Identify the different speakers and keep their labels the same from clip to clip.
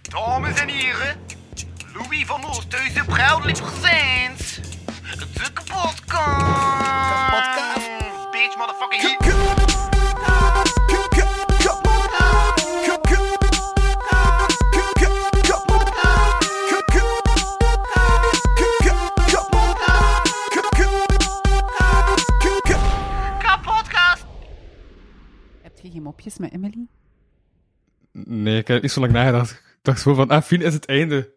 Speaker 1: Dames en heren, Louis van Oosthuizen, proudly presents de kapotkast.
Speaker 2: Kapotkast.
Speaker 1: Bitch, motherfucking hit. Kapotkast.
Speaker 3: Heb je geen mopjes met Emily?
Speaker 4: Nee, ik heb niet zo lang nagedacht. Ik dacht gewoon van, ah, Fien is het einde.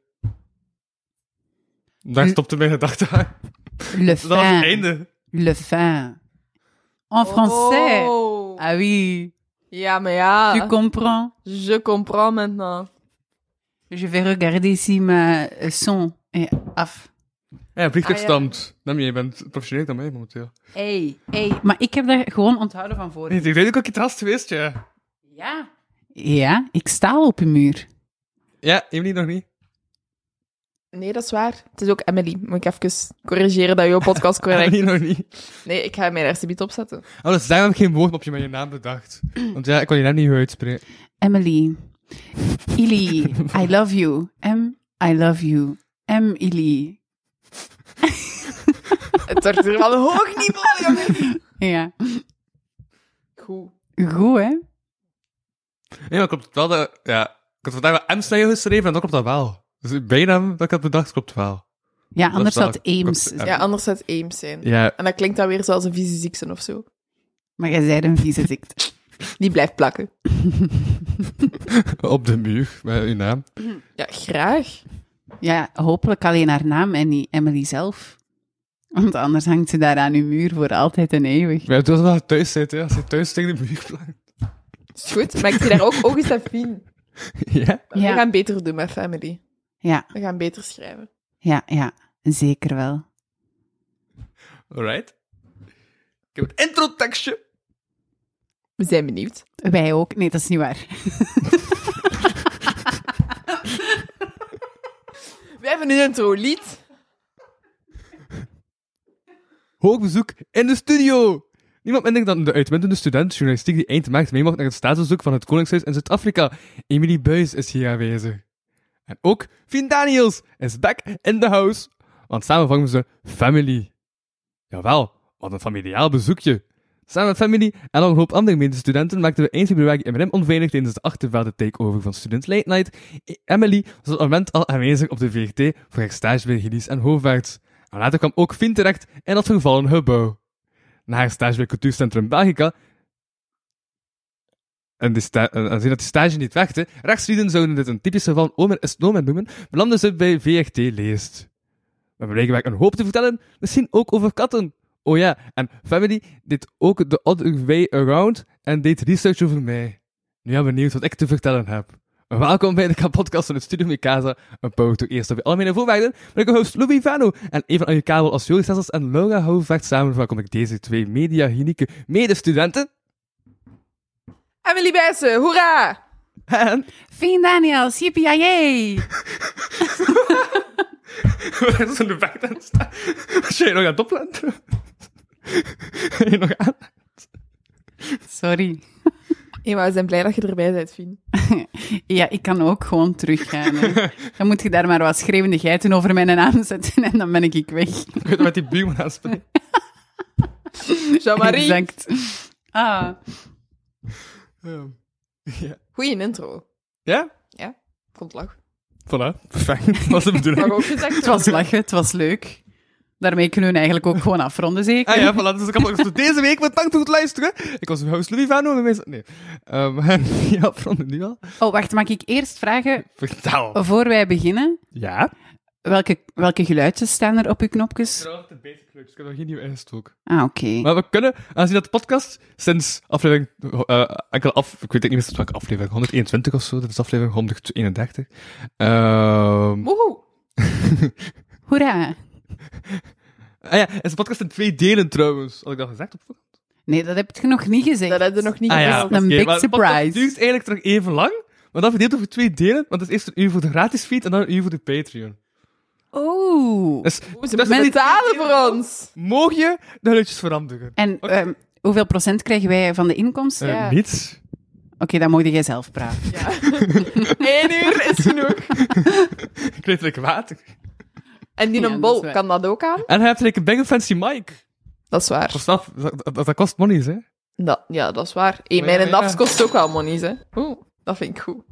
Speaker 4: Daar
Speaker 3: Hm.
Speaker 4: stopte mijn gedachte aan.
Speaker 3: Le
Speaker 4: Dat was het
Speaker 3: fin.
Speaker 4: einde.
Speaker 3: Le fin. En français.
Speaker 5: Oh.
Speaker 3: Ah oui,
Speaker 5: Ja, maar ja.
Speaker 3: tu comprends.
Speaker 5: Je comprends maintenant.
Speaker 3: Je vais regarder si ma eh, son est af.
Speaker 4: Ja, vliegtuig
Speaker 5: Ah, ja.
Speaker 4: stamt. Nee, maar jij bent professioneel dan mij momenteel.
Speaker 3: Hey, hey. Maar ik heb daar gewoon onthouden van voor.
Speaker 4: Nee, ik weet ook dat je het rast geweest, ja.
Speaker 3: Ja. Ja, ik sta al op je muur.
Speaker 4: Ja, Emily nog niet.
Speaker 5: Nee, dat is waar. Het is ook Emily. Moet ik even corrigeren dat jouw podcast correct
Speaker 4: Emily
Speaker 5: is.
Speaker 4: nog niet.
Speaker 5: Nee, ik ga mijn eerste beat opzetten.
Speaker 4: Oh, dus daarom heb ik geen woordmopje met je naam bedacht. Want ja, ik kon je naam niet goed uitspreken.
Speaker 3: Emily. Illy, I love you. M, I love you. M, Illy.
Speaker 5: Het wordt hier wel een hoog niveau, jongen.
Speaker 3: Ja.
Speaker 5: Goed.
Speaker 3: Goed, hè?
Speaker 4: Nee, maar klopt wel dat... Ja, ik had vandaag wel M snel geschreven en dat klopt dat wel. Dus bijna dat ik had bedacht, klopt wel.
Speaker 3: Ja, anders
Speaker 4: wel-
Speaker 3: had Eames.
Speaker 4: klopt, ja.
Speaker 5: Ja, anders zou het Eames zijn.
Speaker 4: Ja,
Speaker 5: En dat klinkt dan weer zoals een vieze ziekte of zo.
Speaker 3: Maar jij zei een vieze ziekte.
Speaker 5: Die blijft plakken.
Speaker 4: op de muur, met je naam.
Speaker 5: Ja, graag.
Speaker 3: Ja, hopelijk alleen haar naam en niet Emily zelf. Want anders hangt ze daar aan uw muur voor altijd en eeuwig.
Speaker 4: Maar het was wel thuis zit, hè. Als je thuis tegen de muur plakt.
Speaker 5: Is goed. Maar ik zie daar ook ogen en Fien.
Speaker 4: Ja?
Speaker 3: Ja.
Speaker 5: We gaan beter doen met Family.
Speaker 3: Ja,
Speaker 5: We gaan beter schrijven.
Speaker 3: ja, ja. Zeker wel.
Speaker 4: Alright. Ik heb het intro-tekstje.
Speaker 5: We zijn benieuwd.
Speaker 3: Wij ook. Nee, dat is niet waar.
Speaker 5: We hebben een intro lied.
Speaker 4: Hoog bezoek in de studio. Niemand minder dan de uitmuntende student journalistiek die eind maart meemacht naar het staatsbezoek van het Koningshuis in Zuid-Afrika. Emily Buis is hier aanwezig. En ook Fien Daniels is back in the house. Want samen vangen ze family. Jawel, wat een familiaal bezoekje. Samen met family en nog een hoop andere medestudenten maakten we 1 februari in Rem onveilig tijdens de achtervelde takeover van Student Late Night. E- Emily was op dat moment al aanwezig op de VRT voor haar stage bij Gilles en Hoofdwaarts. En later kwam ook Fien terecht in dat vervallen gebouw. Na haar stage bij Cultuurcentrum Belgica en die sta- en aanzien dat die stage niet werkte, rechtslieden zouden dit een typisch geval van Omer is Nomen noemen, belanden ze bij VRT Leest. We hebben regelmatig een hoop te vertellen, misschien ook over katten. Oh ja, en Family deed ook de other way around en deed research over mij. Nu ben ik benieuwd wat ik te vertellen heb. Welkom bij de podcast van het Studio Mikasa, een power to eerst op je algemene voorwaarden, met ik host Louis Vano en even aan je kabel als Joris en Laura Houvaert samen verwelkom ik deze twee media-unieke medestudenten
Speaker 5: Emily Bijssen, hoera!
Speaker 4: en
Speaker 3: Fien Daniels, yippie yay!
Speaker 4: Dat is in de back aan staan. Als jij nog aan het opletten. Ben je nog aan?
Speaker 3: Sorry.
Speaker 5: Hé, maar we zijn blij dat je erbij bent, Fien.
Speaker 3: Ja, ik kan ook gewoon teruggaan. hè. Dan moet je daar maar wat schreeuwende geiten over mijn naam zetten en dan ben ik ik weg.
Speaker 4: Ik weet met die buurman aanspreken.
Speaker 5: Jean-Marie,
Speaker 3: Exact. Ah,
Speaker 4: Ja.
Speaker 5: goeie intro.
Speaker 4: Ja?
Speaker 5: Komt lach.
Speaker 4: Voilà. Perfect. Dat was de
Speaker 5: Mag
Speaker 4: bedoeling.
Speaker 5: ook gezegd
Speaker 3: het was lachen, het was leuk. Daarmee kunnen we eigenlijk ook gewoon afronden, zeker?
Speaker 4: Ah ja, voilà. Dus ik had nog voor deze week. Bedankt voor het luisteren. Ik was uw host Louis Vano. en wij zijn- Nee. Ehm, en ja, afronden nu al.
Speaker 3: Oh, wacht, mag ik eerst vragen,
Speaker 4: Vertel.
Speaker 3: voor wij beginnen,
Speaker 4: Ja?
Speaker 3: welke, welke geluidjes staan er op uw knopjes?
Speaker 4: de basic clubs. Ik heb nog geen nieuwe ingestoken.
Speaker 3: Ah, oké.
Speaker 4: Maar we kunnen, aangezien dat de podcast sinds aflevering, eh enkele af, ik weet niet meer sinds welke aflevering, 121 of zo, dat is aflevering 131. Ehm
Speaker 5: Woehoe.
Speaker 3: Hoera!
Speaker 4: Ah ja, het is een podcast in twee delen trouwens. Had ik dat gezegd op voorhand?
Speaker 3: Nee, dat heb je nog niet gezegd.
Speaker 5: Dat hadden we nog niet
Speaker 4: Ah ja,
Speaker 5: gezien.
Speaker 3: een
Speaker 4: oké,
Speaker 3: big
Speaker 4: maar de
Speaker 3: surprise.
Speaker 4: podcast duurt eigenlijk terug even lang, maar dat verdeelt over twee delen, want het is eerst een uur voor de gratis feed en dan een uur voor de Patreon.
Speaker 3: Oh!
Speaker 4: Dus
Speaker 5: Oeh, ze
Speaker 4: dat
Speaker 5: moeten
Speaker 4: is-
Speaker 5: betalen voor ons.
Speaker 4: mogen je de geluidjes veranderen?
Speaker 3: En
Speaker 4: Oké.
Speaker 3: ehm, hoeveel procent krijgen wij van de inkomsten?
Speaker 4: Eh,
Speaker 5: Ja.
Speaker 4: niets.
Speaker 3: dan mocht jij zelf praten.
Speaker 5: Ja. Eén uur is genoeg.
Speaker 4: Ik weet lekker water.
Speaker 5: En die
Speaker 3: Ja,
Speaker 5: een
Speaker 3: dat
Speaker 5: bol
Speaker 3: is waar.
Speaker 5: kan dat ook aan.
Speaker 4: En hij heeft like, een big fancy mic.
Speaker 5: Dat is waar.
Speaker 4: Kost af, dat, dat, dat kost monies, hè?
Speaker 5: Dat, ja, dat is waar. Hey,
Speaker 4: Ja,
Speaker 5: mijn
Speaker 4: ja.
Speaker 5: nafs kost ook wel monies, hè. Oeh, dat vind ik goed.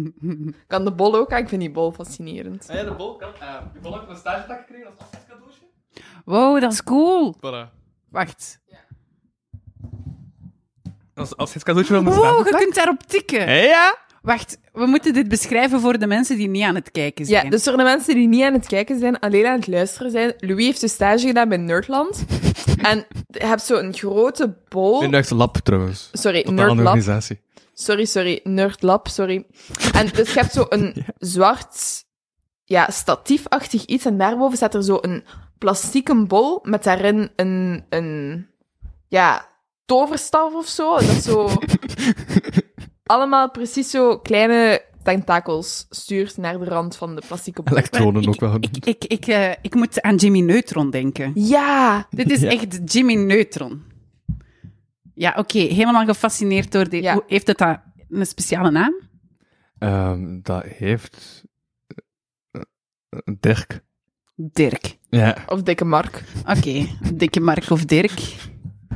Speaker 5: Kan de bol ook aan? Ik vind die bol fascinerend.
Speaker 4: Ah ja, de bol kan. de bol heeft een stagepak gekregen als afscheidscadeautje.
Speaker 3: Wow, dat is cool.
Speaker 4: Voilà.
Speaker 3: Wacht.
Speaker 4: Als afscheidscadeautje van mijn
Speaker 3: Wow, je Oh.
Speaker 4: stagepak.
Speaker 3: kunt daarop tikken.
Speaker 4: Hé, Ja?
Speaker 3: Wacht, we moeten dit beschrijven voor de mensen die niet aan het kijken zijn.
Speaker 5: Ja, dus voor de mensen die niet aan het kijken zijn, alleen aan het luisteren zijn. Louis heeft een stage gedaan bij Nerdland. en je hebt zo'n grote bol.
Speaker 4: In de echte lab, trouwens.
Speaker 5: Sorry,
Speaker 4: Tot een andere
Speaker 5: Nerdlab.
Speaker 4: organisatie.
Speaker 5: Sorry, sorry. Nerdlab, sorry. En dus je hebt zo een zwart, ja, statiefachtig iets. En daarboven staat er zo een plastieke bol met daarin een, een ja, toverstaf of zo. Dat zo allemaal precies zo kleine tentakels stuurt naar de rand van de plastieke bol.
Speaker 4: Elektronen ook wel.
Speaker 3: Ik, ik, ik, eh, ik moet aan Jimmy Neutron denken.
Speaker 5: Ja!
Speaker 3: Dit is
Speaker 4: Ja.
Speaker 3: echt Jimmy Neutron. Ja, oké, helemaal gefascineerd door dit.
Speaker 5: Ja.
Speaker 3: Hoe- Heeft het dat een speciale naam?
Speaker 4: Ehm, dat heeft. eh, eh, Dirk.
Speaker 3: Dirk.
Speaker 4: Ja.
Speaker 5: Of dikke Mark.
Speaker 3: Oké, dikke Mark of Dirk.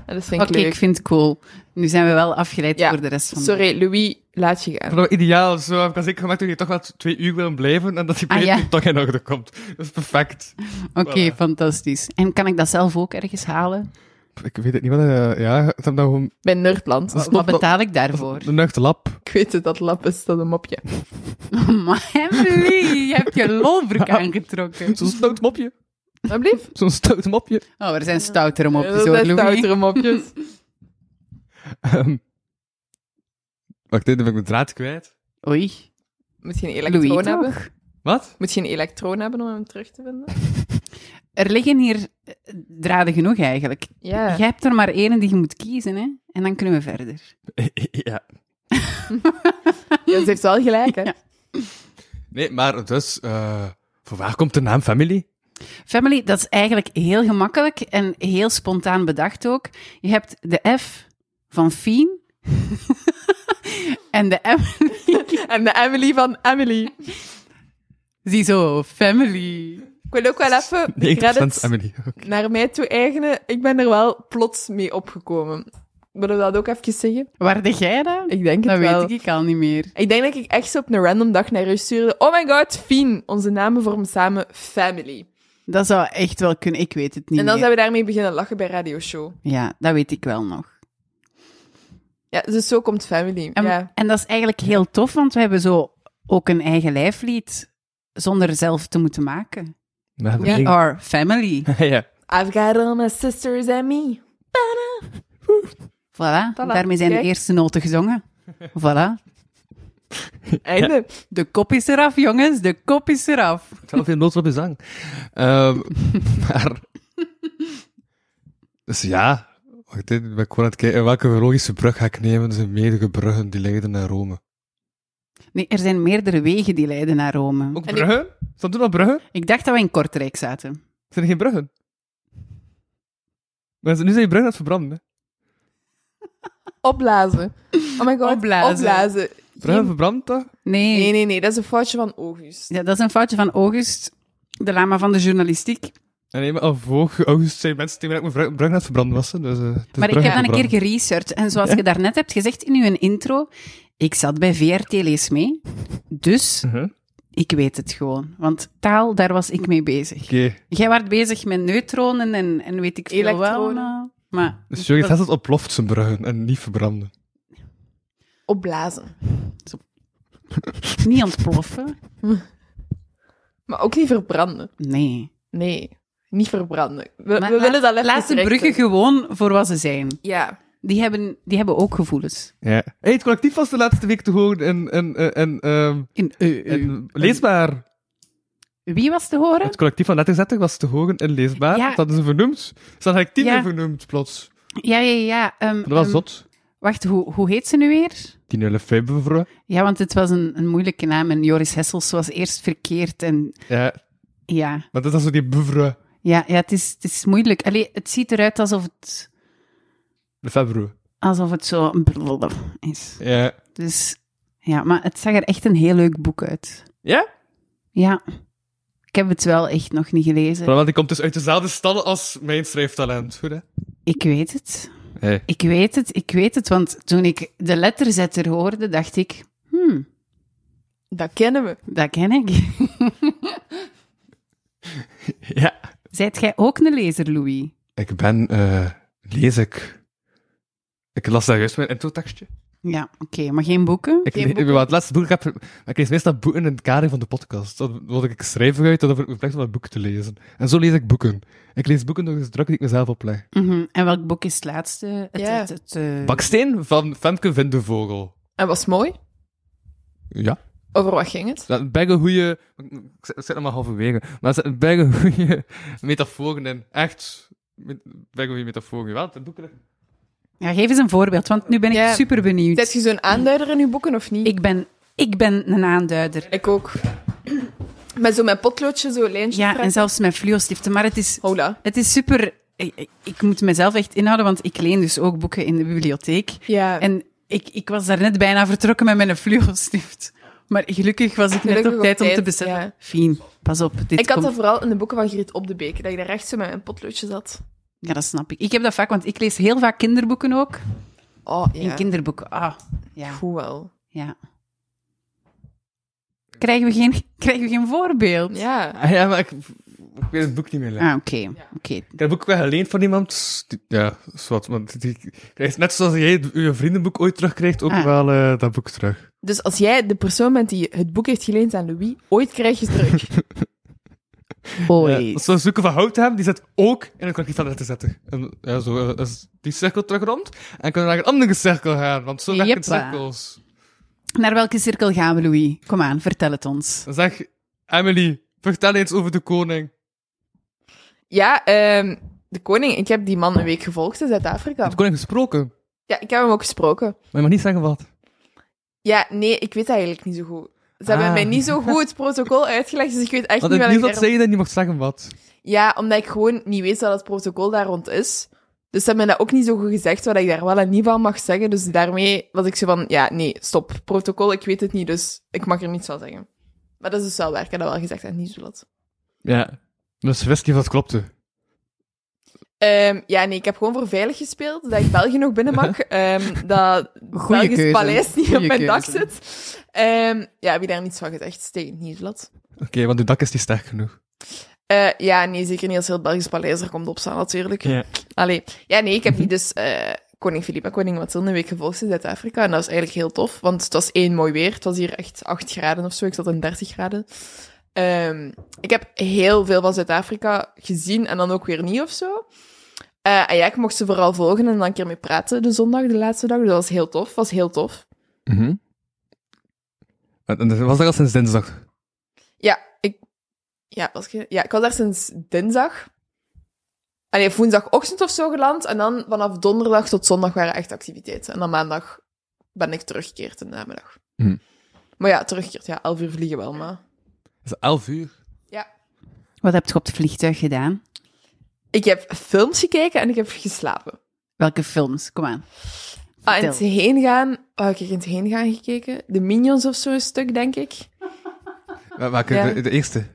Speaker 5: En Dat vind
Speaker 3: Oké,
Speaker 5: ik leuk.
Speaker 3: ik vind het cool. Nu zijn we wel afgeleid
Speaker 5: Ja,
Speaker 3: voor de rest van de
Speaker 5: Sorry, Louis, laat je
Speaker 4: Ik
Speaker 5: gaan.
Speaker 4: vond het wel ideaal. Zo heb ik al zeker gemaakt dat je toch wel t- twee uur wil blijven en dat die
Speaker 3: Ah,
Speaker 4: prijs
Speaker 3: ja.
Speaker 4: nu toch in orde komt. Dat is perfect.
Speaker 3: Oké,
Speaker 4: Voilà.
Speaker 3: fantastisch. En kan ik dat zelf ook ergens halen?
Speaker 4: Ik weet het niet wat. eh, ja, het heb nou gewoon.
Speaker 5: Bij Nerdland.
Speaker 4: Wat?
Speaker 3: Wat betaal ik daarvoor?
Speaker 4: De nuchte lab.
Speaker 5: Ik weet het, dat lab is, dat een mopje.
Speaker 3: Maar Emily, je hebt je lolbroek aangetrokken.
Speaker 4: Zo'n stout mopje.
Speaker 5: Wat blieft?
Speaker 4: Zo'n stout mopje.
Speaker 3: Oh, er zijn stoutere
Speaker 5: Ja,
Speaker 3: mopjes
Speaker 5: dat
Speaker 3: hoor,
Speaker 5: zijn
Speaker 3: Louis.
Speaker 5: stoutere mopjes.
Speaker 4: Ehm. Wacht, dit heb ik mijn draad kwijt.
Speaker 3: Oei,
Speaker 5: Moet je een
Speaker 3: Louis
Speaker 5: elektroon hebben?
Speaker 3: toch?
Speaker 4: Wat?
Speaker 5: Moet je een elektroon hebben om hem terug te vinden?
Speaker 3: Er liggen hier eh, draden genoeg eigenlijk.
Speaker 5: Ja.
Speaker 3: Jij hebt er maar één die je moet kiezen, hè? En dan kunnen we verder.
Speaker 4: ja.
Speaker 5: Ja, ze heeft wel gelijk, hè?
Speaker 4: Nee, maar dus. eh voor waar komt de naam Family?
Speaker 3: Family, dat is eigenlijk heel gemakkelijk en heel spontaan bedacht ook. Je hebt de F van Fien en de M,
Speaker 5: En de Emily van Emily.
Speaker 3: zie zo, family.
Speaker 5: Ik wil ook wel even de
Speaker 4: 90%
Speaker 5: credits
Speaker 4: Emily.
Speaker 5: naar mij toe eigenen. Ik ben er wel plots mee opgekomen. Willen we dat ook even zeggen?
Speaker 3: Waarde jij dat?
Speaker 5: Ik denk het
Speaker 3: Dat
Speaker 5: wel.
Speaker 3: weet ik al niet meer.
Speaker 5: Ik denk dat ik echt zo op een random dag naar u stuurde. Oh my god, Fien. Onze namen vormen samen family.
Speaker 3: Dat zou echt wel kunnen, ik weet het niet
Speaker 5: En dan
Speaker 3: meer.
Speaker 5: zijn we daarmee beginnen lachen bij Radio Show.
Speaker 3: Ja, dat weet ik wel nog.
Speaker 5: Ja, dus zo komt family.
Speaker 3: En,
Speaker 5: Ja.
Speaker 3: en dat is eigenlijk heel tof, want we hebben zo ook een eigen lijflied zonder zelf te moeten maken.
Speaker 4: Maar
Speaker 3: We
Speaker 4: ja.
Speaker 3: are family.
Speaker 4: ja.
Speaker 5: I've got all my sisters and me.
Speaker 3: Voilà,
Speaker 5: Voilà,
Speaker 3: daarmee zijn
Speaker 5: kijk.
Speaker 3: de eerste noten gezongen. Voilà.
Speaker 5: Einde.
Speaker 3: De kop is eraf, jongens, de kop is eraf.
Speaker 4: Wel veel noten op je zang. Ehm, maar... Dus ja... Wacht, dit ben ik gewoon aan het kijken. Welke logische brug ga ik nemen? Er zijn meerdere bruggen die leiden naar Rome.
Speaker 3: Nee, er zijn meerdere wegen die leiden naar Rome.
Speaker 4: Ook
Speaker 5: En
Speaker 4: bruggen? Stond er nog bruggen?
Speaker 3: Ik dacht dat we in Kortrijk zaten.
Speaker 4: Zijn er geen bruggen? Maar nu zijn je bruggen aan het verbranden, hè?
Speaker 5: Opblazen. Oh my god.
Speaker 3: Opblazen.
Speaker 5: Opblazen.
Speaker 4: Bruggen
Speaker 5: Geen-
Speaker 4: verbrand, toch?
Speaker 3: Nee,
Speaker 5: Nee, nee, nee. Dat is een foutje van August.
Speaker 3: Ja, dat is een foutje van August, de lama van de journalistiek.
Speaker 4: En nee, maar al voor augustus zijn mensen tegen mij dat ik mijn brug- bruggen aan het verbranden was. hè. Dus, eh, het is
Speaker 3: Maar ik
Speaker 4: bruggen
Speaker 3: heb dan een keer
Speaker 4: verbranden.
Speaker 3: geresearched. En zoals je daarnet hebt gezegd in uw intro, ik zat bij VRT Lees mee. Dus
Speaker 4: Mhm.
Speaker 3: ik weet het gewoon. Want taal, daar was ik mee bezig.
Speaker 4: Oké.
Speaker 3: Jij werd bezig met neutronen en, en weet ik veel
Speaker 5: Elektronen.
Speaker 3: wel. nou. Maar
Speaker 4: Dus Jurgen Tesselt oploft zijn bruggen en niet verbranden.
Speaker 5: Opblazen.
Speaker 3: niet ontploffen.
Speaker 5: Maar ook niet verbranden.
Speaker 3: Nee.
Speaker 5: Nee. Niet verbranden. We,
Speaker 3: Maar
Speaker 5: we
Speaker 3: laat-
Speaker 5: willen dat even
Speaker 3: Laat de
Speaker 5: rechten.
Speaker 3: bruggen gewoon voor wat ze zijn.
Speaker 5: Ja.
Speaker 3: Die hebben, die hebben ook gevoelens.
Speaker 4: Ja. Hey, het collectief was de laatste week te horen en... en, en, en ehm,
Speaker 3: In, eh, eh.
Speaker 4: En leesbaar.
Speaker 3: Wie was te horen?
Speaker 4: Het collectief van 30 was te horen en leesbaar.
Speaker 3: Ja.
Speaker 4: Dat is vernoemd. Dus dan had ik tien
Speaker 3: Ja.
Speaker 4: keer vernoemd, plots.
Speaker 3: Ja, ja, ja. ehm,
Speaker 4: Dat was
Speaker 3: ehm,
Speaker 4: zot.
Speaker 3: Wacht, hoe, hoe heet ze nu weer?
Speaker 4: Tien februari.
Speaker 3: Ja, want het was een, een moeilijke naam en Joris Hessels was eerst verkeerd. En
Speaker 4: Ja,
Speaker 3: ja,
Speaker 4: maar dat is zo die bevru.
Speaker 3: ja, ja het, is, het is moeilijk. Allee, het ziet eruit alsof het,
Speaker 4: De februari.
Speaker 3: alsof het zo een brrrr is.
Speaker 4: Ja.
Speaker 3: Dus ja, maar het zag er echt een heel leuk boek uit.
Speaker 4: Ja?
Speaker 3: Ja. Ik heb het wel echt nog niet gelezen.
Speaker 4: Want die komt dus uit dezelfde stallen als mijn schrijftalent. Goed, hè?
Speaker 3: Ik weet het. Ik weet het, ik weet het. Want toen ik de letterzetter hoorde, dacht ik... Hmm,
Speaker 5: Dat kennen we.
Speaker 3: dat ken ik.
Speaker 4: Ja.
Speaker 3: Zijt jij ook een lezer, Louis?
Speaker 4: Ik ben, eh, lees ik. Ik las daar juist mijn intro-tekstje.
Speaker 3: Ja, oké. maar geen boeken?
Speaker 4: Ik,
Speaker 5: Geen
Speaker 4: le-
Speaker 5: boeken.
Speaker 4: wat het laatste boek, ik, heb, maar ik lees meestal boeken in het kader van de podcast. Dan word ik schrijver uit, dan heb ik plek om een boek te lezen. En zo lees ik boeken. Ik lees boeken door de druk die ik mezelf opleg.
Speaker 3: Mhm. En welk boek is het laatste? Het,
Speaker 5: Ja.
Speaker 3: het, het, eh,
Speaker 4: Baksteen van Femke Vindevogel.
Speaker 5: En was mooi.
Speaker 4: Ja.
Speaker 5: Over wat ging het?
Speaker 4: Dat bij een goede. Ik zit nog maar halverwege. Maar er zitten bij een goede metaforen in. Echt. Bij goede metaforen. Wel, het boek.
Speaker 3: ja, geef eens een voorbeeld, want nu ben ik
Speaker 5: Ja.
Speaker 3: super benieuwd.
Speaker 5: Zet je zo'n aanduider in je boeken of niet?
Speaker 3: Ik, ben, ik ben een aanduider.
Speaker 5: Ik ook. Met zo mijn potloodje, zo lijntje.
Speaker 3: Ja, en zelfs met fluo-stiften. Maar het is,
Speaker 5: Hola.
Speaker 3: het is super... Ik, ik moet mezelf echt inhouden, want ik leen dus ook boeken in de bibliotheek.
Speaker 5: Ja.
Speaker 3: En ik, ik was daar net bijna vertrokken met mijn fluo-stift. Maar gelukkig was ik
Speaker 5: Gelukkig
Speaker 3: net op
Speaker 5: op
Speaker 3: tijd om te
Speaker 5: tijd,
Speaker 3: beseffen...
Speaker 5: ja.
Speaker 3: Fien, pas op, dit
Speaker 5: ik had
Speaker 3: komt...
Speaker 5: dat vooral in de boeken van Griet Op de Beek, dat ik daar echt zo met mijn potloodje zat.
Speaker 3: Ja, dat snap ik. Ik heb dat vaak, want ik lees heel vaak kinderboeken ook.
Speaker 5: Oh, ja.
Speaker 3: In kinderboeken, ah, ja,
Speaker 5: Goed wel.
Speaker 3: ja. Krijgen we geen, krijgen we geen voorbeeld?
Speaker 5: Ja.
Speaker 4: Ah, ja, maar ik, ik weet het boek niet meer. lezen.
Speaker 3: Ah, oké. oké.
Speaker 4: Ik heb het boek wel geleend van iemand. Die- Ja, zwart. Want die krijgt net zoals jij het- je vriendenboek ooit terugkrijgt, ook
Speaker 3: Ah.
Speaker 4: wel eh, dat boek terug.
Speaker 5: Dus als jij de persoon bent die het boek heeft geleend aan Louis, ooit krijg je het terug.
Speaker 3: Oei.
Speaker 4: Ja, als we een zoeken van hout hebben, die zit ook in een collectief van te zetten. En, ja, zo eh, is die cirkel terug rond. En kunnen we naar een andere cirkel gaan, want zo werken
Speaker 3: Jeppa.
Speaker 4: cirkels.
Speaker 3: Naar welke cirkel gaan we, Louis? Kom aan, vertel het ons.
Speaker 4: Dan zeg Emily, vertel eens over de koning.
Speaker 5: ja, ehm, de koning, ik heb die man een week gevolgd in Zuid-Afrika.
Speaker 4: De koning gesproken.
Speaker 5: Ja, ik heb hem ook gesproken.
Speaker 4: Maar je mag niet zeggen wat.
Speaker 5: Ja, nee, ik weet dat eigenlijk niet zo goed. Ze
Speaker 4: Ah.
Speaker 5: hebben mij niet zo goed het protocol uitgelegd, dus ik weet echt
Speaker 4: Want
Speaker 5: niet
Speaker 4: het
Speaker 5: wat
Speaker 4: nieuws dat
Speaker 5: ik daarop
Speaker 4: zei je dat je niet mocht zeggen wat.
Speaker 5: Ja, omdat ik gewoon niet weet wat het protocol daar rond is. Dus ze hebben mij dat ook niet zo goed gezegd, wat ik daar wel en niet van mag zeggen. Dus daarmee was ik zo van, ja, nee, stop. Protocol, ik weet het niet, dus ik mag er niets van zeggen. Maar dat is dus wel waar, ik heb dat wel gezegd en niet zo laat.
Speaker 4: Ja. Dus ze wist niet of dat klopte.
Speaker 5: Ehm, ja, nee, ik heb gewoon voor veilig gespeeld, dat ik België nog binnen mag. Ehm, dat
Speaker 3: Goeie
Speaker 5: Belgisch
Speaker 3: keuze.
Speaker 5: paleis niet
Speaker 3: Goeie
Speaker 5: op mijn dak
Speaker 3: keuze.
Speaker 5: zit. Ehm, ja, heb ik daar niets van gezegd, steek niet zo laat.
Speaker 4: Oké, want uw dak is niet sterk genoeg.
Speaker 5: Eh, ja, nee, zeker niet als heel het Belgisch paleis er komt opstaan, natuurlijk.
Speaker 4: Ja.
Speaker 5: Allee, ja, nee, ik heb die dus eh, koning Filippa, koning Mathilde een week gevolgd in Zuid-Afrika. En dat was eigenlijk heel tof, want het was één mooi weer. Het was hier echt 8 graden of zo, ik zat in 30 graden. Ehm, ik heb heel veel van Zuid-Afrika gezien en dan ook weer niet of zo. Eh, en ja, ik mocht ze vooral volgen en dan een keer mee praten de zondag, de laatste dag. Dus dat was heel tof, was heel tof.
Speaker 4: Mhm. En, en dat was dat al sinds dinsdag.
Speaker 5: Ja, ik, ja, was ik, ja, ik was daar sinds dinsdag. Allee, of woensdagochtend of zo geland. En dan vanaf donderdag tot zondag waren echt activiteiten. En dan maandag ben ik teruggekeerd in de namiddag.
Speaker 4: Hm.
Speaker 5: Maar ja, teruggekeerd. Ja, elf uur vliegen wel, maar...
Speaker 4: Dat is elf uur.
Speaker 3: Wat heb je op het vliegtuig gedaan?
Speaker 5: Ik heb films gekeken en ik heb geslapen.
Speaker 3: Welke films? Kom aan.
Speaker 5: Ah, in het
Speaker 3: Vertel.
Speaker 5: heen gaan... Waar heb ik in het heen gaan gekeken? De Minions of zo een stuk, denk ik.
Speaker 4: Wa- Welke,
Speaker 5: Ja.
Speaker 4: de, de eerste.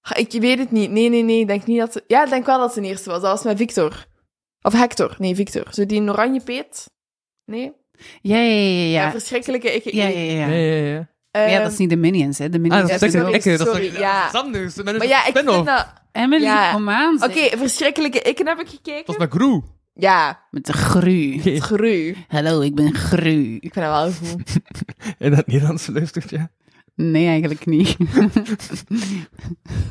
Speaker 5: Ah, Ik weet het niet. Nee, nee, nee. Ik denk niet dat... ze- Ja, ik denk wel dat het een eerste was. Dat was met Victor. Of Hector. Nee, Victor. Zo die in oranje peet. Nee?
Speaker 3: Ja, ja, ja,
Speaker 5: Ja,
Speaker 3: ja.
Speaker 5: verschrikkelijke ik. Ehm,
Speaker 3: Ja, ja, ja. ja.
Speaker 4: ja, ja.
Speaker 3: Maar ja, dat is niet de Minions, hè. De Minions.
Speaker 4: Ah, dat
Speaker 5: Ja,
Speaker 4: is een
Speaker 5: sorry,
Speaker 4: ikke. Dat
Speaker 5: sorry,
Speaker 4: is
Speaker 5: ja.
Speaker 4: Sanders, met een
Speaker 5: Maar ja, ik vind
Speaker 4: spin-off.
Speaker 5: dat... Oké,
Speaker 3: Emily,
Speaker 5: Ja.
Speaker 3: kom aan. zeg.
Speaker 5: verschrikkelijke ikken heb ik
Speaker 4: Dat
Speaker 5: gekeken.
Speaker 4: is met Groe.
Speaker 5: Ja,
Speaker 3: Met de gru.
Speaker 4: Oké.
Speaker 5: gru. Ik
Speaker 3: Hallo, ik ben gru.
Speaker 5: vind dat wel goed.
Speaker 4: In dat Nederlands luistert, ja.
Speaker 3: Nee, eigenlijk niet.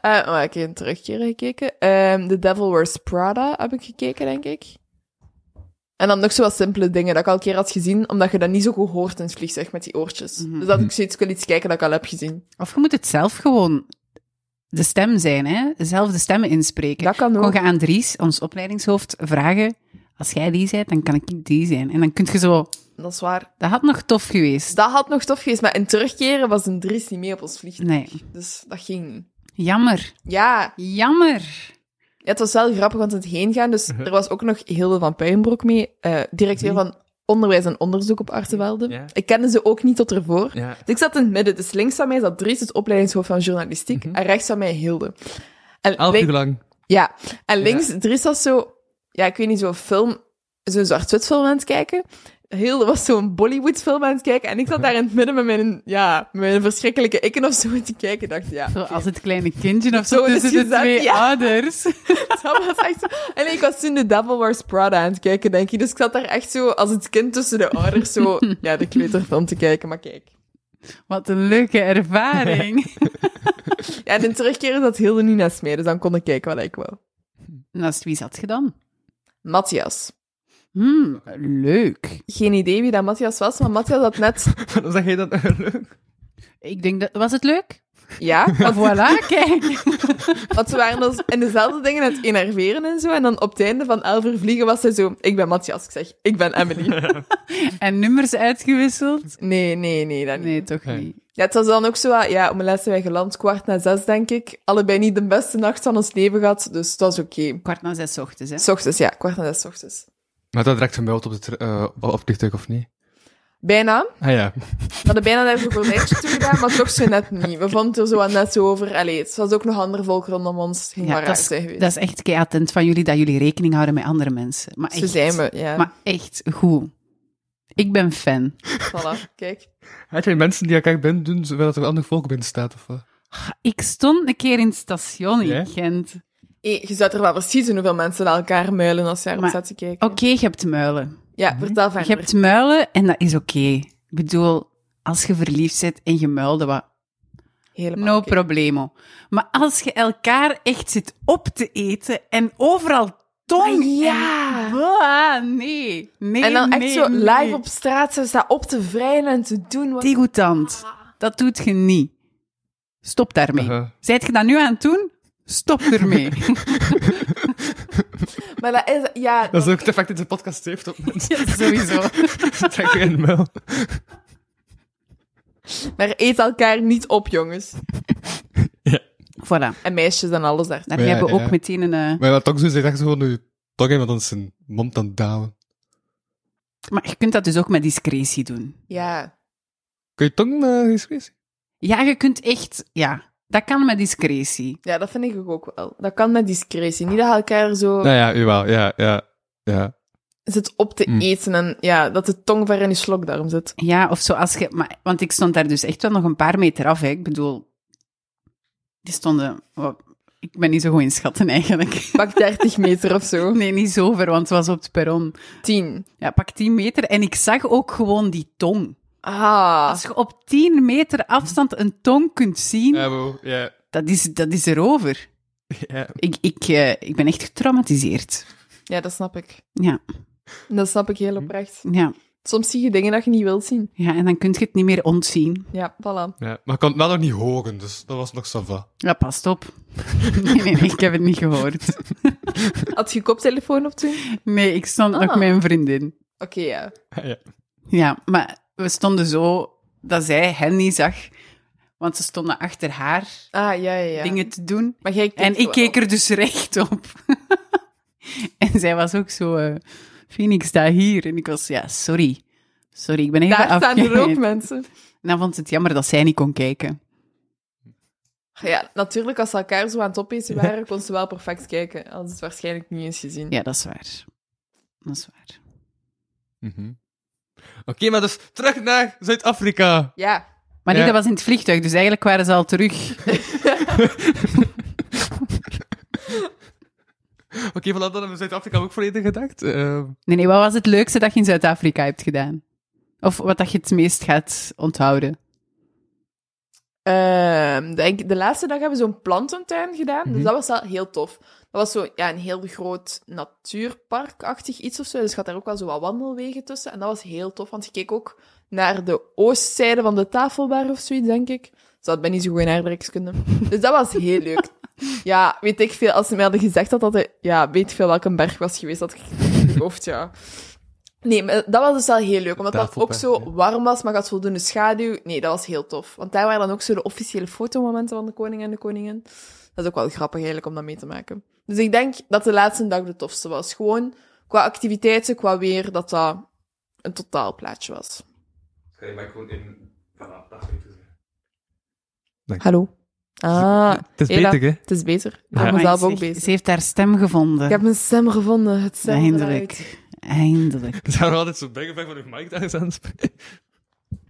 Speaker 5: Eh, maar ik heb een terugkeer gekeken. Ehm The Devil Wears Prada heb ik gekeken, denk ik. En dan nog zo wat simpele dingen dat ik al een keer had gezien, omdat je dat niet zo goed hoort in het vliegtuig met die oortjes.
Speaker 3: Mhm.
Speaker 5: Dus dat ik zoiets ik wil iets kijken dat ik al heb gezien.
Speaker 3: Of je moet het zelf gewoon de stem zijn, hè. Zelf de stemmen inspreken.
Speaker 5: Dat kan
Speaker 3: Kon
Speaker 5: ook.
Speaker 3: je aan Dries, ons opleidingshoofd, vragen... Als jij die bent, dan kan ik die zijn. En dan kun je zo...
Speaker 5: Dat is waar.
Speaker 3: Dat had nog tof
Speaker 5: Dus
Speaker 3: geweest.
Speaker 5: dat had nog tof geweest, maar in terugkeren was een Dries niet mee op ons vliegtuig.
Speaker 3: Nee.
Speaker 5: Dus dat ging niet.
Speaker 3: Jammer.
Speaker 5: Ja,
Speaker 3: Jammer.
Speaker 4: Mhm.
Speaker 5: Ja, het was wel grappig, want het heen gaan, dus er was ook nog Hilde van Puijenbroek mee. eh, directeur van onderwijs en onderzoek op Artevelde.
Speaker 4: Ja.
Speaker 5: Ik kende ze ook niet tot ervoor.
Speaker 4: Ja.
Speaker 5: Dus ik zat in het midden. Dus links van mij zat Dries, het opleidingshoofd van journalistiek.
Speaker 4: Mhm.
Speaker 5: En rechts van mij Hilde. En
Speaker 4: Elf
Speaker 5: link-
Speaker 4: uur lang.
Speaker 5: ja, en links, Dries was zo, ja, ik weet niet, zo'n film, zo'n zwart-wit film aan het kijken. Heel, was zo'n Bollywood film aan het kijken. En ik zat daar in het midden met mijn, ja, met mijn verschrikkelijke ikken of zo te kijken. Ik dacht, ja,
Speaker 3: Zo als het kleine kindje of zo,
Speaker 5: Zo is
Speaker 3: tussen de
Speaker 5: gezet,
Speaker 3: twee
Speaker 5: ja.
Speaker 3: ouders.
Speaker 5: dat was echt zo. En ik was toen The Devil Wears Prada aan het kijken, denk ik. Dus ik zat daar echt zo, als het kind tussen de ouders, zo, ja, de kleuterfilm te kijken. Maar kijk.
Speaker 3: Wat een leuke ervaring.
Speaker 5: Ja, en in terugkeren zat Hilde niet naast mij, dus dan kon ik kijken wat ik wou.
Speaker 3: Naast wie zat je dan?
Speaker 5: Matthias.
Speaker 3: Hmm, leuk.
Speaker 5: Geen idee wie dat Matthias was, maar Matthias had net...
Speaker 4: Dan zeg je dat leuk.
Speaker 3: Ik denk dat... Was het leuk?
Speaker 5: Ja, want
Speaker 3: Voilà, kijk.
Speaker 5: Want ze waren dus in dezelfde dingen aan het enerveren en zo. En dan op het einde van Elf uur vliegen was ze zo... Ik ben Matthias. Ik zeg, ik ben Emily.
Speaker 3: En nummers uitgewisseld?
Speaker 5: Nee, nee, nee, dat niet.
Speaker 3: Nee, toch
Speaker 4: Nee.
Speaker 3: niet.
Speaker 5: Ja, het was dan ook zo... ah, Ja, om mijn les zijn wij geland. Kwart na zes, denk ik. Allebei niet de beste nacht van ons leven gehad. Dus dat is oké.
Speaker 3: Kwart na zes ochtends, hè.
Speaker 5: S ochtends, ja. Kwart na zes 's ochtends.
Speaker 4: Maar dat raakt hem wel op, de tr- eh, op het vliegtuig, of niet?
Speaker 5: Bijna.
Speaker 4: Ah ja.
Speaker 5: We hadden bijna daar zo'n gordijntje toe gedaan, maar toch zo net niet. We vonden het er zo wat net zo over. Allee, het was ook nog ander volk rondom ons. Het ging maar raar
Speaker 3: dat, is,
Speaker 5: zijn geweest.
Speaker 3: dat is echt kei attent van jullie, dat jullie rekening houden met andere mensen. Maar
Speaker 5: Zo
Speaker 3: echt,
Speaker 5: zijn we, ja.
Speaker 3: Maar echt goed. Ik ben fan.
Speaker 5: Voilà, kijk.
Speaker 4: Had jij mensen die elkaar binnen doen, terwijl er een ander volk binnen staat? Of wat?
Speaker 3: Ik stond een keer in het station in
Speaker 4: Ja?
Speaker 3: Gent.
Speaker 5: Hé, je zou er wel precies zien hoeveel mensen naar elkaar muilen als je daarop
Speaker 3: Maar-
Speaker 5: staat te kijken.
Speaker 3: Oké, je hebt muilen.
Speaker 5: Ja, vertel
Speaker 3: Je
Speaker 5: verder.
Speaker 3: hebt muilen en dat is oké. Ik bedoel, als je verliefd bent en je muilde wat,
Speaker 5: Helemaal
Speaker 3: no
Speaker 5: oké.
Speaker 3: problemo. Maar als je elkaar echt zit op te eten en overal tong...
Speaker 5: Ah, ja.
Speaker 3: en- Bah, nee, nee,
Speaker 5: En dan echt
Speaker 3: nee,
Speaker 5: zo
Speaker 3: nee.
Speaker 5: live op straat, ze staat op te vrijen en te doen. Wat...
Speaker 3: Degoutant. Dat doet je niet. Stop daarmee.
Speaker 4: Aha.
Speaker 3: Zijt je dat nu aan het doen? Stop ermee.
Speaker 5: Maar dat is, ja,
Speaker 4: Dat is ook het effect dat de podcast heeft op mensen.
Speaker 3: Ja, sowieso.
Speaker 4: Trek je in de muil.
Speaker 5: maar eet elkaar niet op, jongens.
Speaker 3: Voilà.
Speaker 5: En meisjes en alles daar.
Speaker 3: Daar
Speaker 4: Ja,
Speaker 3: hebben we
Speaker 4: ja.
Speaker 3: ook meteen een... eh,
Speaker 4: Maar wat toch zo zegt, echt zo gewoon je tong iemand aan zijn mond aan dalen.
Speaker 3: Maar je kunt dat dus ook met discretie doen.
Speaker 5: Ja.
Speaker 4: Kun je tong eh discretie?
Speaker 3: Ja, je kunt echt... Ja, dat kan met discretie.
Speaker 5: ja, dat vind ik ook wel. Dat kan met discretie. Niet dat je elkaar zo
Speaker 4: Nou ja, jawel, ja, ja, ja.
Speaker 5: zit op te
Speaker 4: Mm.
Speaker 5: eten en ja, dat de tong ver in je slokdarm zit.
Speaker 3: Ja, of zo als je... Maar, want ik stond daar dus echt wel nog een paar meter af, hè. Ik bedoel... Die stonden... wat- ik ben niet zo goed in schatten, eigenlijk.
Speaker 5: Pak 30 meter of zo.
Speaker 3: Nee, niet zo ver, want het was op het perron.
Speaker 5: 10.
Speaker 3: Ja, pak 10 meter. En ik zag ook gewoon die tong.
Speaker 5: Ah.
Speaker 3: Als je op 10 meter afstand een tong kunt zien,
Speaker 4: Ja, bo, ja.
Speaker 3: dat, is, dat is erover.
Speaker 4: Ja.
Speaker 3: Ik, ik, eh, ik ben echt getraumatiseerd.
Speaker 5: Ja, dat snap ik.
Speaker 3: Ja,
Speaker 5: Dat snap ik heel oprecht.
Speaker 3: ja,
Speaker 5: Soms zie je dingen dat je niet wilt zien.
Speaker 3: ja, en dan kun je het niet meer ontzien.
Speaker 5: Ja, voilà.
Speaker 4: ja. Maar ik kon het wel nog niet horen, dus dat was nog sava.
Speaker 3: Ja, past op. Nee, nee, nee, ik heb het niet gehoord.
Speaker 5: Had je koptelefoon op toen? Oké,
Speaker 3: Nee, ik stond nog
Speaker 5: Ah.
Speaker 3: met een vriendin.
Speaker 5: ja.
Speaker 4: Ah, Ja.
Speaker 3: Ja, maar we stonden zo dat zij hen niet zag, want ze stonden achter haar
Speaker 5: Ah, ja, ja, ja.
Speaker 3: dingen te doen.
Speaker 5: Maar jij keek
Speaker 3: En
Speaker 5: zo
Speaker 3: ik keek
Speaker 5: wel.
Speaker 3: er dus recht op. en zij was ook zo, eh, Phoenix, sta hier. En ik was, ja, sorry. Sorry, ik ben even
Speaker 5: Daar staan er ook
Speaker 3: afgeleid.
Speaker 5: mensen.
Speaker 3: En dan vond ze het jammer dat zij niet kon kijken.
Speaker 5: Ja, natuurlijk, als ze elkaar zo aan het opeten waren, kon ze wel perfect kijken. Hadden ze het waarschijnlijk niet eens gezien.
Speaker 3: Ja, dat is waar. Dat is waar.
Speaker 4: Mhm. Oké, maar dus terug naar Zuid-Afrika.
Speaker 5: Ja.
Speaker 3: Maar nee,
Speaker 4: Ja.
Speaker 3: dat was in het vliegtuig, dus eigenlijk waren ze al terug.
Speaker 4: Oké, vanaf dat hebben we Zuid-Afrika ook volledig gedacht. Eh,
Speaker 3: Nee, nee, wat was het leukste dat je in Zuid-Afrika hebt gedaan? Of wat dat je het meest gaat onthouden?
Speaker 5: Ehm, denk, de laatste dag hebben we zo'n plantentuin gedaan, dus dat was wel heel tof. Dat was zo, ja, een heel groot natuurparkachtig iets of zo, dus je had daar ook wel zo wat wandelwegen tussen. En dat was heel tof, want je keek ook naar de oostzijde van de tafelbar of zoiets, denk ik. Dus dat ben niet zo goed in aardrijkskunde. Dus dat was heel leuk. Ja, weet ik veel, als ze mij hadden gezegd dat dat, de- ja, weet ik veel welke berg was geweest, dat ik het hoofd, ja. Nee, maar dat was dus wel heel leuk, omdat dat ook
Speaker 4: Tafelberg,
Speaker 5: zo
Speaker 4: ja.
Speaker 5: warm was, maar ik had voldoende schaduw. Nee, dat was heel tof. Want daar waren dan ook zo de officiële fotomomenten van de koning en de koningin. Dat is ook wel grappig eigenlijk om dat mee te maken. Dus ik denk dat de laatste dag de tofste was. Gewoon qua activiteiten, qua weer, dat dat een totaalplaatje was.
Speaker 4: Ga je mij gewoon in... Voilà, dat
Speaker 5: Hallo. Ah,
Speaker 4: Het is
Speaker 5: Ela,
Speaker 4: beter, hè?
Speaker 5: Het is beter. Ik ben
Speaker 4: Ja.
Speaker 5: mezelf
Speaker 3: Maar
Speaker 5: ook
Speaker 3: zeg,
Speaker 5: bezig.
Speaker 3: Ze heeft haar stem gevonden.
Speaker 5: Ik heb mijn stem gevonden. Het stem eruit.
Speaker 3: Eindelijk. Eindelijk.
Speaker 4: Ze hadden altijd zo'n bang van uw mic daar eens aan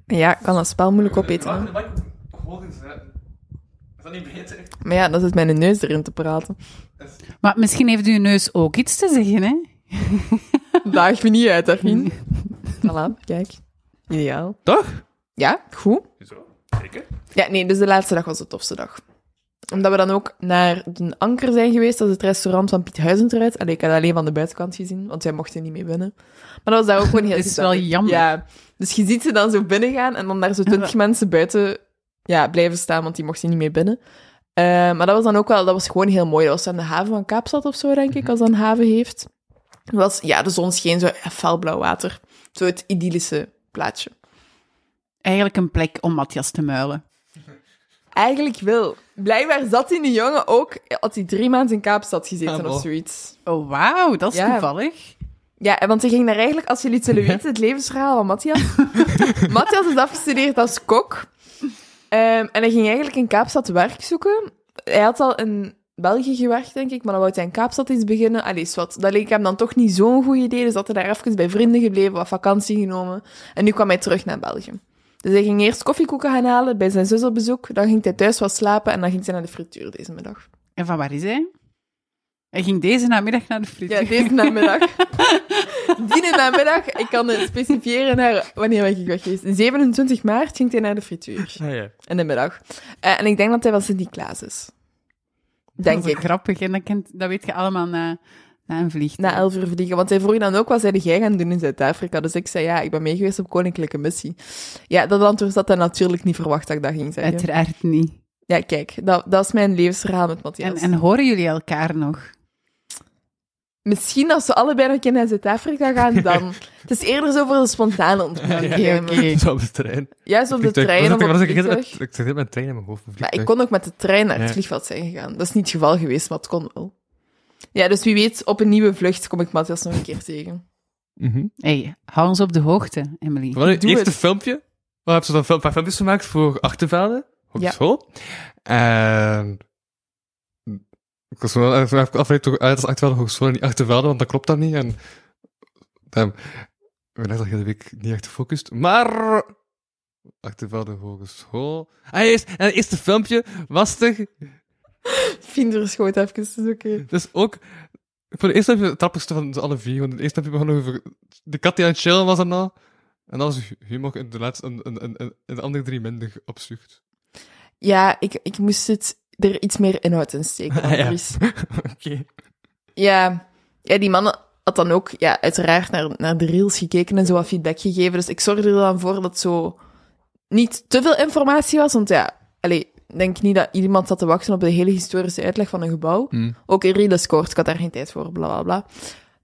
Speaker 5: Ja, ik kan dat spel moeilijk opeten. hè.
Speaker 4: Is dat niet beter?
Speaker 5: Maar ja, dat is mijn neus erin te praten.
Speaker 3: Maar misschien heeft uw neus ook iets te zeggen, hè?
Speaker 5: Daag me niet uit, Armin. voilà, kijk. Ideaal.
Speaker 4: Toch?
Speaker 5: Ja, goed.
Speaker 4: Zo, zeker.
Speaker 5: Ja, nee, dus de laatste dag was de tofste dag. Omdat we dan ook naar de Anker zijn geweest, dat is het restaurant van Piet Huizentruid. Allee, ik had alleen van de buitenkant gezien, want zij mochten niet mee binnen. Maar dat was daar ook gewoon heel
Speaker 3: Dat is
Speaker 5: gezellig.
Speaker 3: wel jammer.
Speaker 5: Ja, dus je ziet ze dan zo binnen gaan en dan daar zo twintig mensen buiten ja, blijven staan, want die mochten niet mee binnen. Eh, maar dat was dan ook wel, dat was gewoon heel mooi. Dat was aan de haven van Kaapstad of zo, denk
Speaker 3: Mhm.
Speaker 5: ik, als dat een haven heeft. Dat was, ja, de zon scheen zo felblauw water. Zo het idyllische plaatje.
Speaker 3: Eigenlijk een plek om Matthias te muilen.
Speaker 5: Eigenlijk wel. Blijkbaar zat die jongen ook, had hij drie maanden in Kaapstad gezeten
Speaker 4: Ah,
Speaker 5: of
Speaker 4: wel.
Speaker 5: zoiets.
Speaker 3: Oh, wauw, dat is
Speaker 5: Ja.
Speaker 3: toevallig.
Speaker 5: Ja, en want hij ging daar eigenlijk, als jullie het zullen weten, het levensverhaal van Matthias. Matthias is afgestudeerd als kok. Ehm, en hij ging eigenlijk in Kaapstad werk zoeken. Hij had al in België gewerkt, denk ik, maar dan wou hij in Kaapstad iets beginnen. Allee, wat. Dat leek hem dan toch niet zo'n goed idee, dus had hij daar even bij vrienden gebleven, wat vakantie genomen. En nu kwam hij terug naar België. Dus hij ging eerst koffiekoeken gaan halen, bij zijn zus op bezoek. Dan ging hij thuis wat slapen en dan ging hij naar de frituur deze middag.
Speaker 3: En van waar is hij? Hij ging deze namiddag naar de frituur.
Speaker 5: Ja, deze namiddag. Die namiddag, ik kan het specifieren naar wanneer ben ik weg geweest. 27 maart ging hij naar de frituur.
Speaker 4: Ah, ja.
Speaker 5: In de middag. Eh, en ik denk dat hij wel Sint-Niklaas is. Denk
Speaker 3: dat is
Speaker 5: ik.
Speaker 3: ook grappig. En dat, kent, dat weet je allemaal na, na een vliegtuig.
Speaker 5: Na elf uur vliegen. Want zij vroeg dan ook, wat zei jij gaan doen in Zuid-Afrika? Dus ik zei, ja, ik ben meegeweest op koninklijke missie. Ja, dat antwoord had hij natuurlijk niet verwacht dat ik dat ging zeggen.
Speaker 3: Uiteraard niet.
Speaker 5: Ja, kijk, dat, dat is mijn levensverhaal met Matthias.
Speaker 3: En, en horen jullie elkaar nog?
Speaker 5: Misschien als ze allebei nog een keer naar Zuid-afrika gaan, dan... Het is eerder zo voor de spontane ontmoeting.
Speaker 3: Oké, oké.
Speaker 4: Zo op de trein.
Speaker 5: Juist op de
Speaker 4: Vliegtuig.
Speaker 5: trein
Speaker 4: Was
Speaker 5: of
Speaker 4: ik-
Speaker 5: op
Speaker 4: was ik-
Speaker 5: het
Speaker 4: Ik
Speaker 5: vliegtuig.
Speaker 4: zit met- ik zit met een trein in mijn hoofd. een
Speaker 5: Maar ik
Speaker 4: vliegtuig.
Speaker 5: kon ook met de trein naar het
Speaker 4: Ja.
Speaker 5: vliegveld zijn gegaan. Dat is niet het geval geweest, maar het kon wel. Ja, dus wie weet, op een nieuwe vlucht kom ik Matthias nog een keer tegen.
Speaker 4: Mhm.
Speaker 3: hey, hou ons op de hoogte, Emily.
Speaker 4: Van het
Speaker 5: Doe
Speaker 4: eerste
Speaker 5: het.
Speaker 4: filmpje. Waar hebben ze dan een paar filmpjes gemaakt voor Achtervelden? Op
Speaker 5: Ja.
Speaker 4: school. En... Ik was wel even even afgeleid door uit als Achtervelden Hogeschool en niet Achtervelden, want dat klopt dat niet. En... Damn. Ik ben echt al de hele week niet echt gefocust. Maar... Achtervelde Hogeschool... Ah, eerst, en het eerste filmpje was er...
Speaker 5: Vinder schoot even, is oké.
Speaker 4: Dus ook... Voor de eerste filmpje het grappigste van ze alle vier. Want het eerste filmpje begon over... De kat die aan het chillen was en al. En dan was humor in de, laatste, in, in, in, in de andere drie minder opzucht.
Speaker 5: Ja, ik, ik moest het er iets meer inhoud in steken.
Speaker 4: Ah, ja.
Speaker 5: Andries.
Speaker 4: Oké.
Speaker 5: ja. ja, die man had dan ook ja, uiteraard naar, naar de reels gekeken en zo wat feedback gegeven. Dus ik zorgde er dan voor dat zo niet te veel informatie was. Want ja, allee, ik denk niet dat iemand zat te wachten op de hele historische uitleg van een gebouw. Ook in Real scoort, ik had daar geen tijd voor, bla bla bla.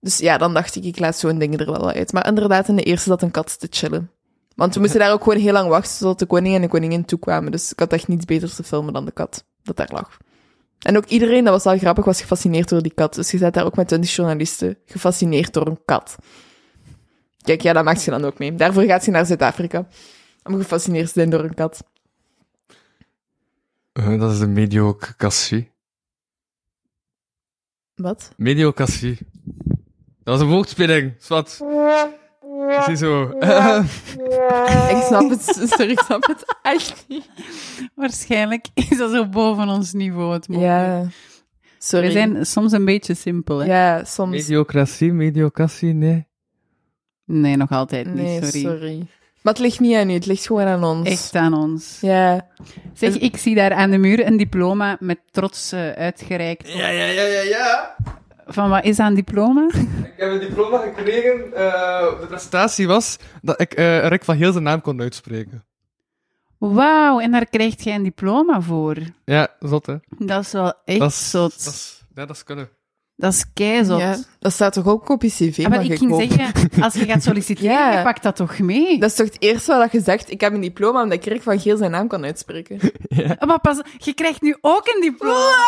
Speaker 5: Dus ja, dan dacht ik, ik laat zo'n ding er wel uit. Maar inderdaad, in de eerste zat een kat te chillen. Want we moesten daar ook gewoon heel lang wachten tot de koning en de koningin toekwamen. Dus ik had echt niets beters te filmen dan de kat dat daar lag. En ook iedereen, dat was wel grappig, was gefascineerd door die kat. Dus je zat daar ook met 20 journalisten, gefascineerd door een kat. Kijk, ja, dat maakt je dan ook mee. Daarvoor gaat ze naar Zuid-Afrika. Om gefascineerd te zijn door een kat.
Speaker 4: Eh, dat is de mediocratie.
Speaker 5: Wat?
Speaker 4: Mediocratie. Dat is een woordspeling. Zwat. Zie zo.
Speaker 5: Ik snap het, sorry, ik snap het echt niet.
Speaker 3: Waarschijnlijk is dat zo boven ons niveau. Het mogelijk.
Speaker 5: Ja, sorry.
Speaker 3: We zijn soms een beetje simpel, hè?
Speaker 5: Ja, soms.
Speaker 4: mediocratie, mediocratie, nee.
Speaker 3: Nee, nog altijd
Speaker 5: Nee,
Speaker 3: niet,
Speaker 5: sorry.
Speaker 3: sorry.
Speaker 5: Maar het ligt niet aan u, het ligt gewoon aan ons.
Speaker 3: Echt aan ons.
Speaker 5: Ja.
Speaker 3: Zeg, ik zie daar aan de muur een diploma met trots eh, uitgereikt.
Speaker 4: Ja, ja, ja, ja, ja.
Speaker 3: Van wat is dat een diploma?
Speaker 4: Ik heb een diploma gekregen. eh, de prestatie was dat ik eh Rick van Heel zijn naam kon uitspreken.
Speaker 3: Wauw, en daar krijgt jij een diploma voor.
Speaker 4: Ja, zot, hè.
Speaker 3: Dat is wel echt
Speaker 4: Dat is, dat
Speaker 3: zot.
Speaker 4: is, ja, dat is kunnen.
Speaker 3: Dat is keizot.
Speaker 5: ja, dat staat toch ook op je cv?
Speaker 3: Ah, maar
Speaker 5: mag
Speaker 3: ik ging
Speaker 5: hopen.
Speaker 3: zeggen, als je gaat solliciteren,
Speaker 5: Ja.
Speaker 3: je pakt dat toch mee?
Speaker 5: Dat is toch het eerste wat je zegt? Ik heb een diploma omdat ik Rick van Geel zijn naam kan uitspreken.
Speaker 3: Ah, Maar pas, je krijgt nu ook een diploma.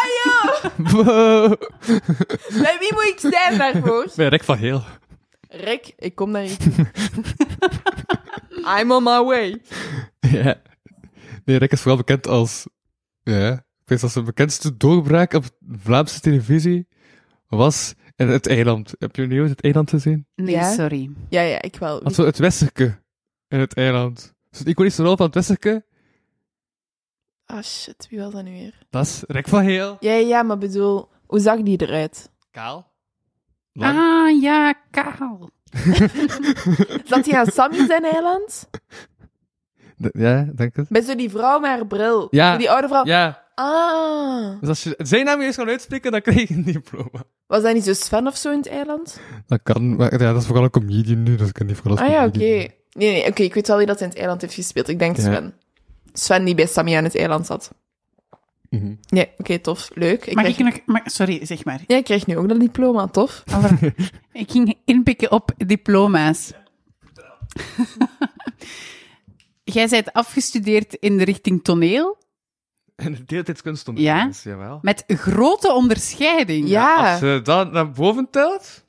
Speaker 5: Bij wie moet ik zijn daarvoor?
Speaker 4: Bij Rick van Heel.
Speaker 5: Rick, ik kom naar je toe. I'm on my way.
Speaker 4: Ja. Nee, Rick is vooral bekend als... Ja, ik weet dat zijn bekendste doorbraak op Vlaamse televisie was in het eiland. Heb je nieuws het eiland gezien?
Speaker 3: Nee,
Speaker 5: Ja?
Speaker 3: sorry.
Speaker 5: Ja, ja, ik wel.
Speaker 4: Had zo het Westerke in het eiland. Dus de iconische rol van het Westerke,
Speaker 5: Ah, shit, wie was dat nu weer?
Speaker 4: dat is Rick van Heel.
Speaker 5: Ja, ja, ja, maar bedoel, hoe zag die eruit?
Speaker 4: Kaal.
Speaker 5: Ah.
Speaker 4: Lang.
Speaker 3: Ah, ja, kaal.
Speaker 5: Zat hij aan Sammy zijn eiland?
Speaker 4: D- Ja, denk het.
Speaker 5: Met zo die vrouw met haar bril.
Speaker 4: Ja.
Speaker 5: Zo Die oude vrouw.
Speaker 4: Ja,
Speaker 5: Ah.
Speaker 4: dus als je zijn naam eerst kan uitspreken, dan krijg je een diploma.
Speaker 5: Was dat niet zo Sven of zo in het eiland?
Speaker 4: Dat kan, maar ja, dat is vooral een comedian nu, dus ik kan die vooral als
Speaker 5: ah ja, oké.
Speaker 4: comedian doen.
Speaker 5: Nee, nee, oké, ik weet wel wie dat in het eiland heeft gespeeld. Ik denk
Speaker 4: Ja.
Speaker 5: Sven. Sven die bij Sammy aan het eiland zat.
Speaker 4: Mhm.
Speaker 5: Nee, oké, tof. Leuk. Ik
Speaker 3: Mag
Speaker 5: krijg...
Speaker 3: ik nog... Mag, sorry, zeg maar.
Speaker 5: Ja, ik krijg nu ook dat diploma, tof.
Speaker 3: Over- ik ging inpikken op diploma's. Jij bent afgestudeerd in de richting toneel,
Speaker 4: En de deeltijdskunst stond
Speaker 3: Ja?
Speaker 4: er dus, jawel.
Speaker 3: met grote onderscheiding.
Speaker 5: Ja,
Speaker 4: Als je dat naar boven telt,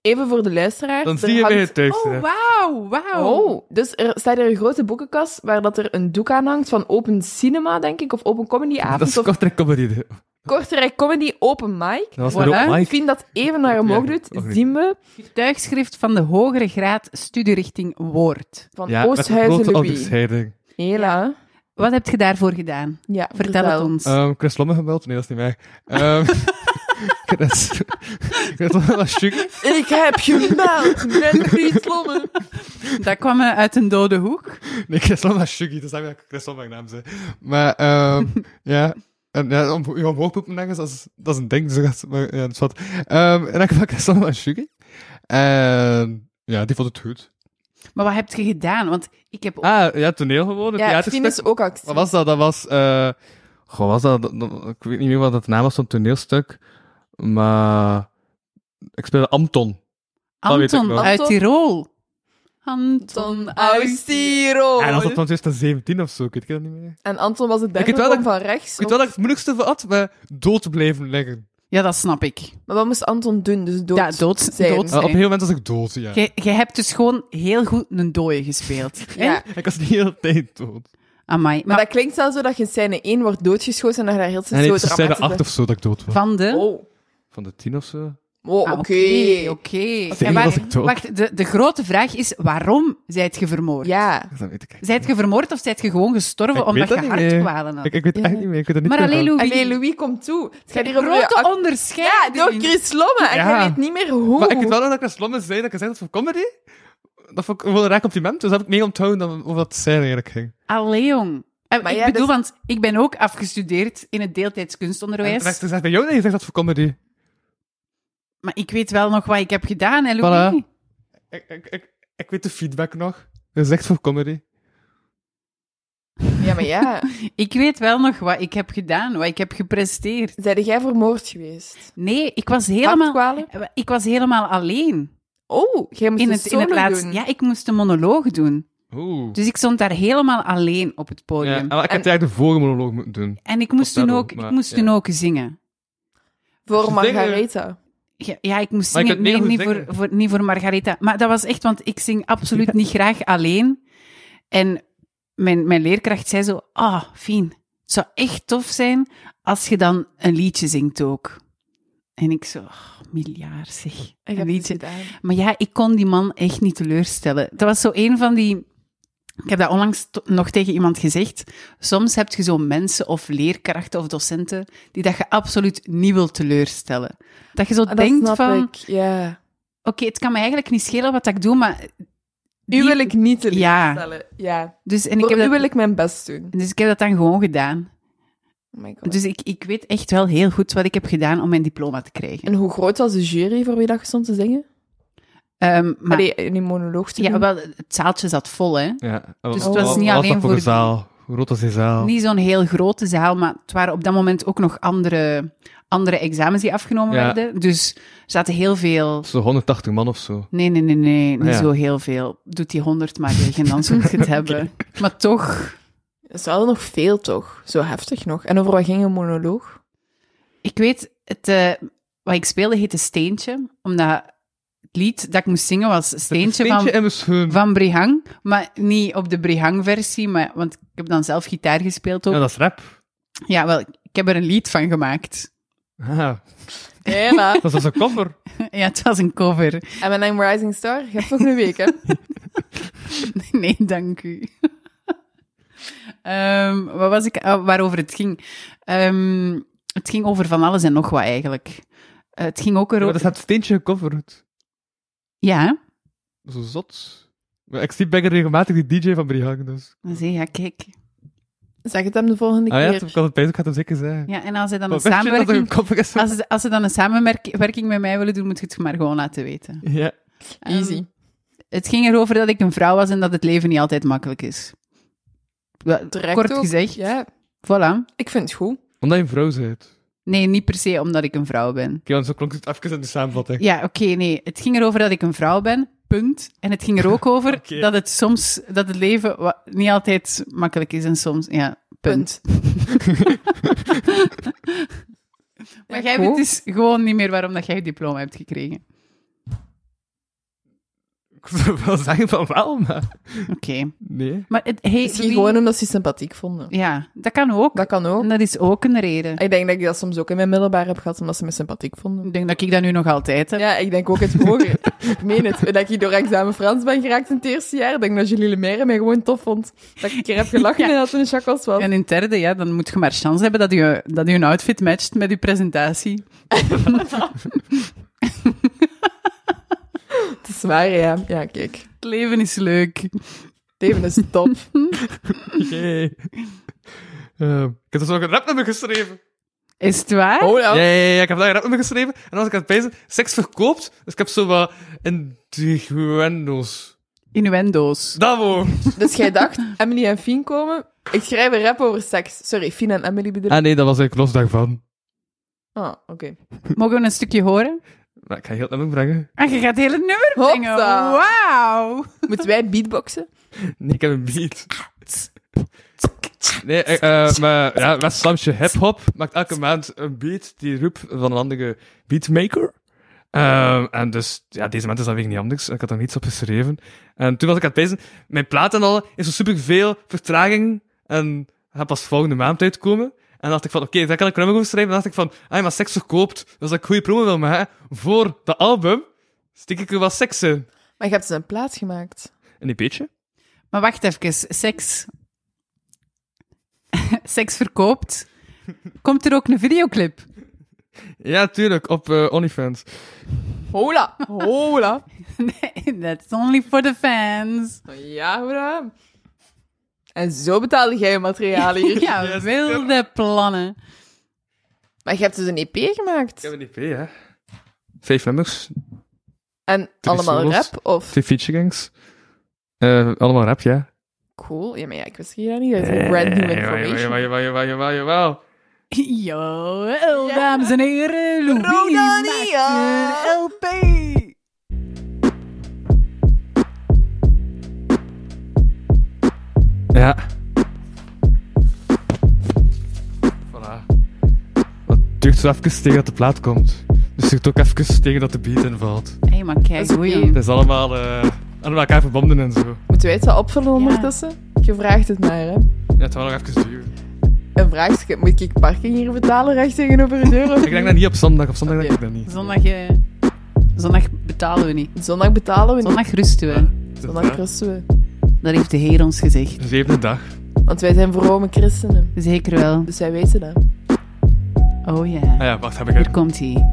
Speaker 5: even voor de luisteraars.
Speaker 4: dan
Speaker 5: Er
Speaker 4: zie je bij
Speaker 5: hangt-
Speaker 4: het thuis.
Speaker 3: Oh,
Speaker 4: terecht.
Speaker 3: wauw, wauw.
Speaker 5: Oh, dus er staat er een grote boekenkast waar dat er een doek aan hangt van Open Cinema, denk ik, of Open Comedy
Speaker 4: Dat is
Speaker 5: Avond, of
Speaker 4: kortrijk comedy. Dat
Speaker 5: Kortrijk Comedy Open Mic.
Speaker 4: was
Speaker 3: Voilà.
Speaker 4: maar ook
Speaker 5: Ik
Speaker 4: Mike.
Speaker 5: vind dat even naar omhoog doet,
Speaker 4: Ja, oké.
Speaker 5: zien we
Speaker 3: Tuigschrift van de hogere graad studierichting Woord.
Speaker 5: van
Speaker 4: Ja, met een
Speaker 5: Oosthuizen
Speaker 4: grote
Speaker 5: Louis.
Speaker 4: onderscheiding.
Speaker 5: Hela.
Speaker 3: Wat heb je daarvoor gedaan?
Speaker 5: Ja,
Speaker 3: Vertel het ons.
Speaker 4: Ehm, Chris Lomme gebeld? Nee, dat is niet mij. Ehm, Chris, Chris Lomme was chic.
Speaker 5: Ik heb gemeld met Piet Lomme.
Speaker 3: Dat kwam eh, uit een dode hoek.
Speaker 4: Nee, Chris Lomme was chic. Dus dat ik Chris Lomme mijn naam zei. Maar ehm ja, en, ja om, je omhoog poepen ergens, dat is, dat is een ding. Dus, dat is- maar, ja, dat is wat. Ehm, en dan kwam Chris Lomme was chic. En ja, die vond het goed.
Speaker 3: Maar wat heb je gedaan? Want ik heb...
Speaker 4: Ah, ja, toneel gewoon. Het
Speaker 5: Ja, Fien
Speaker 4: theaterstuk.
Speaker 5: is ook actie.
Speaker 4: Wat was dat? Dat was. eh goh, was dat, dat- dat- Ik weet niet meer wat het naam was van het toneelstuk. Maar. Ik speelde Anton. dat weet ik
Speaker 3: Anton
Speaker 4: nog.
Speaker 3: uit
Speaker 5: Anton?
Speaker 3: Tirol. Anton uit
Speaker 5: Ausiro.
Speaker 4: En dat was van 2017 of zo. Ik weet het niet meer.
Speaker 5: En Anton was het
Speaker 4: weet wel
Speaker 5: derde boom
Speaker 4: dat-
Speaker 5: van rechts.
Speaker 4: Ik weet wel
Speaker 5: of-
Speaker 4: dat ik het moeilijkste van had, maar dood te blijven liggen.
Speaker 3: Ja, dat snap ik.
Speaker 5: Maar wat moest Anton doen? Dus dood.
Speaker 3: Ja, dood, dood
Speaker 5: zijn.
Speaker 4: Eh, op een
Speaker 3: zijn.
Speaker 4: heel moment was ik dood, ja.
Speaker 3: Jij jij hebt dus gewoon heel goed een dooie gespeeld.
Speaker 5: Ja.
Speaker 3: Ja.
Speaker 5: Maar,
Speaker 4: Ik was de hele tijd dood.
Speaker 3: Amai. Maar
Speaker 5: dat klinkt zelfs zo dat je in scène 1 wordt doodgeschoten en dat je daar heel
Speaker 4: En
Speaker 5: zo
Speaker 4: ik zei de
Speaker 5: dramatisch
Speaker 4: acht of zo dat ik dood was.
Speaker 3: van de...
Speaker 5: Oh,
Speaker 4: Van de tien of zo.
Speaker 5: oh
Speaker 3: Ah,
Speaker 5: oké.
Speaker 3: Oké, oké.
Speaker 4: Oké,
Speaker 3: En waar-
Speaker 4: was ik dood.
Speaker 3: Wacht, de, de grote vraag is, waarom zijt je vermoord?
Speaker 5: Ja.
Speaker 4: Dat weet ik echt.
Speaker 3: Zijt je vermoord of zijt je gewoon gestorven
Speaker 4: Ik
Speaker 3: omdat
Speaker 4: weet dat
Speaker 3: je
Speaker 4: niet meer.
Speaker 3: hartkwalen had?
Speaker 4: Ik, ik weet
Speaker 5: Ja.
Speaker 4: echt niet meer. Ik weet het niet
Speaker 3: maar
Speaker 4: meer
Speaker 3: alleen
Speaker 4: van.
Speaker 3: Louis,
Speaker 5: Allee, Louis, komt toe. Het gaat hier over je
Speaker 3: grote
Speaker 4: Ah,
Speaker 5: act- Ja,
Speaker 3: onderscheiding.
Speaker 5: door Chris Lomme. En
Speaker 4: Ja.
Speaker 5: jij weet niet meer hoe.
Speaker 4: Maar ik weet wel nog dat ik naar Slomme zei dat ik gezegd had voor comedy. Dat vond ik wel een raar compliment, dus dat heb ik mee onthouden dan over wat zij eigenlijk ging.
Speaker 3: Allee, jong. Eh,
Speaker 5: Maar
Speaker 3: ik
Speaker 5: ja,
Speaker 3: bedoel,
Speaker 5: dus-
Speaker 3: want ik ben ook afgestudeerd in het deeltijds
Speaker 4: En
Speaker 3: kunstonderwijs.
Speaker 4: dan zegt bij jou, nee, je zegt dat voor comedy.
Speaker 3: Maar ik weet wel nog wat ik heb gedaan, hè, Louis?
Speaker 4: Ik, ik, ik, ik weet de feedback nog. Dat is echt voor comedy.
Speaker 5: Ja, maar ja.
Speaker 3: Ik weet wel nog wat ik heb gedaan, wat ik heb gepresteerd.
Speaker 5: Zijde jij vermoord geweest?
Speaker 3: Nee, ik was helemaal, Eh,
Speaker 5: Hartkwalen?
Speaker 3: ik was helemaal alleen.
Speaker 5: Oh, jij moest
Speaker 3: In
Speaker 5: een
Speaker 3: het, in het
Speaker 5: solo
Speaker 3: laatste.
Speaker 5: doen.
Speaker 3: Ja, ik moest een monoloog doen.
Speaker 4: Oeh.
Speaker 3: Dus ik stond daar helemaal alleen op het
Speaker 4: Ja,
Speaker 3: podium.
Speaker 4: maar ik heb
Speaker 5: En-
Speaker 4: eigenlijk de vorige monoloog moeten doen.
Speaker 3: En ik moest,
Speaker 4: dat
Speaker 3: toen
Speaker 4: wel,
Speaker 3: ook, ik
Speaker 4: maar-
Speaker 3: moest
Speaker 4: ja.
Speaker 3: toen ook zingen.
Speaker 5: Voor
Speaker 4: Dus ik denk, eh,
Speaker 5: Margaretha.
Speaker 3: Ja, ja, ik moest
Speaker 4: Maar je
Speaker 3: zingen.
Speaker 4: kunt
Speaker 3: nee,
Speaker 4: niet
Speaker 3: niet
Speaker 4: goed
Speaker 3: voor,
Speaker 4: zingen.
Speaker 3: voor, niet voor Margaretha. Maar dat was echt, want ik zing absoluut niet graag alleen. En mijn, mijn leerkracht zei zo, ah, Fien, het zou echt tof zijn als je dan een liedje zingt ook. En ik zo, oh, miljard zeg.
Speaker 5: Ik
Speaker 3: Een
Speaker 5: heb iets
Speaker 3: liedje.
Speaker 5: gedaan.
Speaker 3: Maar ja, ik kon die man echt niet teleurstellen. Dat was zo een van die... Ik heb dat onlangs to- nog tegen iemand gezegd. Soms heb je zo mensen of leerkrachten of docenten die dat je absoluut niet wilt teleurstellen. Dat je zo
Speaker 5: Ah, Dat
Speaker 3: denkt
Speaker 5: snap
Speaker 3: van...
Speaker 5: ik, ja.
Speaker 3: Oké, het kan me eigenlijk niet schelen wat dat ik doe, maar...
Speaker 5: U wil ik niet teleurstellen. Ja.
Speaker 3: Dus, en ik
Speaker 5: Voor
Speaker 3: heb
Speaker 5: u
Speaker 3: dat,
Speaker 5: wil ik mijn best doen.
Speaker 3: dus ik heb dat dan gewoon gedaan.
Speaker 5: Oh my God.
Speaker 3: Dus ik, ik weet echt wel heel goed wat ik heb gedaan om mijn diploma te krijgen.
Speaker 5: En hoe groot was de jury voor wie dat je stond te zingen?
Speaker 3: Ehm, maar
Speaker 5: Allee, in die monoloog te
Speaker 3: ja,
Speaker 5: doen?
Speaker 3: wel, het zaaltje zat vol, hè.
Speaker 4: Ja.
Speaker 3: Dus
Speaker 5: het was
Speaker 4: Wat
Speaker 5: niet
Speaker 4: dat
Speaker 3: alleen voor
Speaker 4: een
Speaker 3: die-
Speaker 4: zaal. Hoe rood was die zaal?
Speaker 3: Niet zo'n heel grote zaal, maar het waren op dat moment ook nog andere, andere examens die afgenomen
Speaker 4: Ja.
Speaker 3: werden. Dus er zaten heel veel...
Speaker 4: Zo'n 180 man of zo.
Speaker 3: Nee, nee, nee, nee, niet
Speaker 4: Ah, ja.
Speaker 3: zo heel veel. Doet die honderd maar weg en dan zult je het hebben. Maar toch,
Speaker 5: Dat is wel nog veel, toch? Zo heftig nog. En over wat ging een monoloog?
Speaker 3: ik weet, het, eh, wat ik speelde heette Steentje, omdat lied dat ik moest zingen was Steentje,
Speaker 4: Steentje
Speaker 3: van,
Speaker 4: en mijn schoen.
Speaker 3: van Brihang. Maar niet op de Brihang-versie, maar, want ik heb dan zelf gitaar gespeeld ook.
Speaker 4: Ja,
Speaker 3: Ja,
Speaker 4: dat is rap.
Speaker 3: wel, ik heb er een lied van gemaakt.
Speaker 4: Ah,
Speaker 5: Hela.
Speaker 4: dat is een koffer.
Speaker 3: ja, het was een cover.
Speaker 5: En mijn I'm Rising Star, je hebt nog een week, hè?
Speaker 3: Nee, dank u. Ehm, wat was ik, ah, waarover het ging? Ehm, het ging over van alles en nog wat eigenlijk. Eh, het ging ook
Speaker 4: Ja, maar
Speaker 3: erover.
Speaker 4: dat staat Steentje gecoverd.
Speaker 3: Ja,
Speaker 4: Zo zot. Maar ik zie Becker regelmatig die DJ van Brihang, dus.
Speaker 3: dan zie je, ja, kijk.
Speaker 5: Zeg het hem de volgende
Speaker 4: Ah ja,
Speaker 5: keer.
Speaker 4: ik had het bezig, ik had hem zeker zeggen.
Speaker 3: Ja, en als hij dan een
Speaker 4: Maar weet je dat er een
Speaker 3: samenwerking...
Speaker 4: koffer is?
Speaker 3: Als ze, als ze dan een samenwerking met mij willen doen, moet je het maar gewoon laten weten.
Speaker 4: Ja.
Speaker 3: Ehm,
Speaker 5: Easy.
Speaker 3: het ging erover dat ik een vrouw was en dat het leven niet altijd makkelijk is. Wel,
Speaker 5: Direct
Speaker 3: Kort
Speaker 5: ook.
Speaker 3: gezegd.
Speaker 5: Ja,
Speaker 3: Voilà.
Speaker 5: ik vind het goed.
Speaker 4: Omdat je een vrouw bent. Oké,
Speaker 3: Nee, niet per se omdat ik een vrouw ben.
Speaker 4: want zo klonk het even in de samenvatting.
Speaker 3: Ja, oké, nee. Het ging erover dat ik een vrouw ben, punt. En het ging er ook over
Speaker 4: Oké.
Speaker 3: dat het soms, dat het leven wa- niet altijd makkelijk is en soms, ja, punt.
Speaker 5: Punt.
Speaker 3: Maar
Speaker 5: Ja,
Speaker 3: jij
Speaker 5: cool.
Speaker 3: weet dus gewoon niet meer waarom dat jij je diploma hebt gekregen.
Speaker 4: Ik zou wel zeggen van wel, maar...
Speaker 3: Oké.
Speaker 4: Nee.
Speaker 3: Maar het, hey,
Speaker 5: Misschien
Speaker 3: wie-
Speaker 5: gewoon omdat ze het sympathiek vonden.
Speaker 3: Ja, dat kan ook.
Speaker 5: Dat kan ook.
Speaker 3: En dat is ook een reden.
Speaker 5: Ik denk dat ik dat soms ook in mijn middelbaar heb gehad, omdat ze me sympathiek vonden.
Speaker 3: Ik denk dat ik dat nu nog altijd heb.
Speaker 5: Ja, ik denk ook het hoger. ik meen het. Dat ik door examen Frans ben geraakt in het eerste jaar. Ik denk dat Julie Lemaire mij gewoon tof vond. Dat ik een keer heb gelachen
Speaker 3: Ja.
Speaker 5: en dat in de chakras was.
Speaker 3: En in het derde, ja, dan moet je maar chance hebben dat je, dat je een outfit matcht met je presentatie.
Speaker 5: Het is waar, ja. Ja, kijk.
Speaker 3: Het leven is leuk.
Speaker 5: Steven is top.
Speaker 4: Jee. Ehm, ik heb dus nog een rapnummer geschreven.
Speaker 3: Is het waar?
Speaker 5: Oh,
Speaker 4: Ja,
Speaker 5: ja.
Speaker 4: ja, ja, ja, ik heb daar een rapnummer geschreven. En als ik aan het bezig, seks verkoopt. Dus ik heb zo wat innuendo's.
Speaker 3: Innuendo's.
Speaker 4: Dat woord.
Speaker 5: Dus jij dacht, Emily en Fien komen. Ik schrijf een rap over seks. Sorry, Fien en Emily bedoel ik.
Speaker 4: Ah nee, dat was ik los daarvan.
Speaker 5: Ah, oké.
Speaker 3: Mogen we een stukje horen?
Speaker 4: Maar ik ga heel het nummer brengen.
Speaker 3: Ah, je gaat het hele nummer brengen.
Speaker 5: Hopsa.
Speaker 3: Wauw.
Speaker 5: Moeten wij beatboxen?
Speaker 4: Nee, ik heb een beat. Nee, eh, eh, maar ja, West Slamsje Hip Hop maakt elke maand een beat die roept van een andere beatmaker. Ehm, en dus, ja, deze maand is dat weer niet anders. Ik had daar niets op geschreven. En toen was ik aan het bezig. Mijn plaat en al is er superveel vertraging en gaat pas volgende maand uitkomen. En dacht ik van, oké, daar kan ik een nummer over schrijven. En dacht ik van, ah, maar seks verkoopt. Dus dat ik goede promo wil maken voor dat album, stik ik er wel seks in.
Speaker 5: Maar je hebt ze een plaats gemaakt.
Speaker 4: En die beetje.
Speaker 3: Maar wacht even. Seks. Seks verkoopt. Komt er ook een videoclip?
Speaker 4: Ja, tuurlijk, op eh, OnlyFans.
Speaker 5: Hola, hola.
Speaker 3: Nee, that's only for the fans.
Speaker 5: Ja, hola. En zo betaalde jij je materiaal hier.
Speaker 3: Ja,
Speaker 4: Yes.
Speaker 3: wilde plannen.
Speaker 5: Maar je hebt dus een EP
Speaker 4: Ik heb
Speaker 5: gemaakt.
Speaker 4: een EP, hè. Vijf nummers,
Speaker 5: En
Speaker 4: Drie
Speaker 5: allemaal
Speaker 4: singles.
Speaker 5: rap, of...
Speaker 4: twee featuregangs. Eh allemaal rap, ja. Eh,
Speaker 5: Cool. Ja, maar ja, ik wist hier niet. Dat is brand new information.
Speaker 4: Jawel, jawel, jawel, jawel, jawel.
Speaker 3: Yo, dames en heren, Louis
Speaker 5: Roda
Speaker 3: maakt
Speaker 5: Nia.
Speaker 3: een LP.
Speaker 4: Ja. Voilà. Maar Het duurt zo even tegen dat de plaat komt. Dus het duurt ook even tegen dat de beat invalt.
Speaker 3: Hé, hey, maar
Speaker 5: Dat
Speaker 3: kijk,
Speaker 5: is
Speaker 3: hoe
Speaker 5: oké.
Speaker 4: Het
Speaker 3: je...
Speaker 4: is allemaal, eh allemaal elkaar verbonden en zo.
Speaker 5: Moeten wij het wel opvullen ondertussen? Je vraagt het maar, hè.
Speaker 4: Ja, het zal nog even duren.
Speaker 5: Een vraagstuk. Moet ik parking hier betalen recht tegenover de deur? of
Speaker 4: Ik denk dat niet op zondag. Op zondag denk ik dat niet.
Speaker 3: Zondag, eh, zondag betalen we niet.
Speaker 5: niet? Zondag betalen we niet.
Speaker 3: Zondag rusten we.
Speaker 5: Zondag rusten we.
Speaker 3: Dat heeft de Heer ons gezegd.
Speaker 4: De Dus, eh, zevende dag.
Speaker 5: Want wij zijn vrome christenen.
Speaker 3: Zeker wel.
Speaker 5: Dus wij weten dat.
Speaker 3: Oh ja,
Speaker 4: Ah ja, wacht, heb ik het.
Speaker 3: hier komt hij.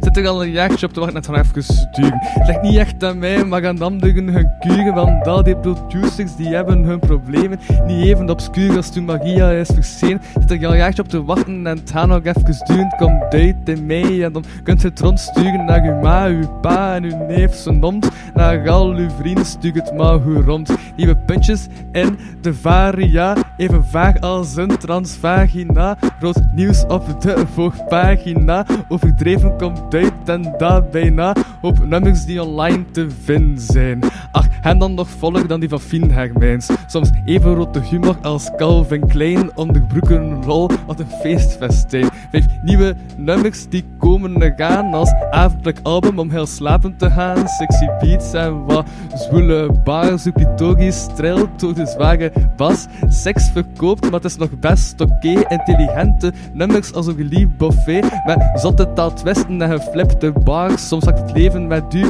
Speaker 4: zit er al een jaartje op te wachten naar het even sturen. Het ligt niet echt aan mij, maar aan anderen hun kuren. Want al die producers die hebben hun problemen. Niet even obscuur als toen Maria is verschenen. Zit er al een jaartje op te wachten en het gaat nog even duren. Kom duid in mei en dan kunt je het rondsturen naar uw ma, uw pa en uw neef, zijn hond. Naar al uw vrienden stuur het maar goed rond. Nieuwe puntjes in de varia. Even vaag als een transvagina. Rood nieuws op de voorpagina. Overdreven komt uit en daar bijna. Op nummers die online te vinden zijn. Ach, en dan nog voller dan die van Fien Hermijns. Soms even rood de humor als Calvin Klein. Onderbroeken rol, wat een feestfestijn. Vijf nieuwe nummers die komen er gaan als avondelijk album om heel slapend te gaan. Sexy beats en wat zwoele bars. Zoekitogi streelt door de zware bas. Seks verkoopt, maar het is nog best oké. Intelligente nummers als een geliefd buffet. Met zotte taal twisten en geflipte bars. Soms zakt het leven met u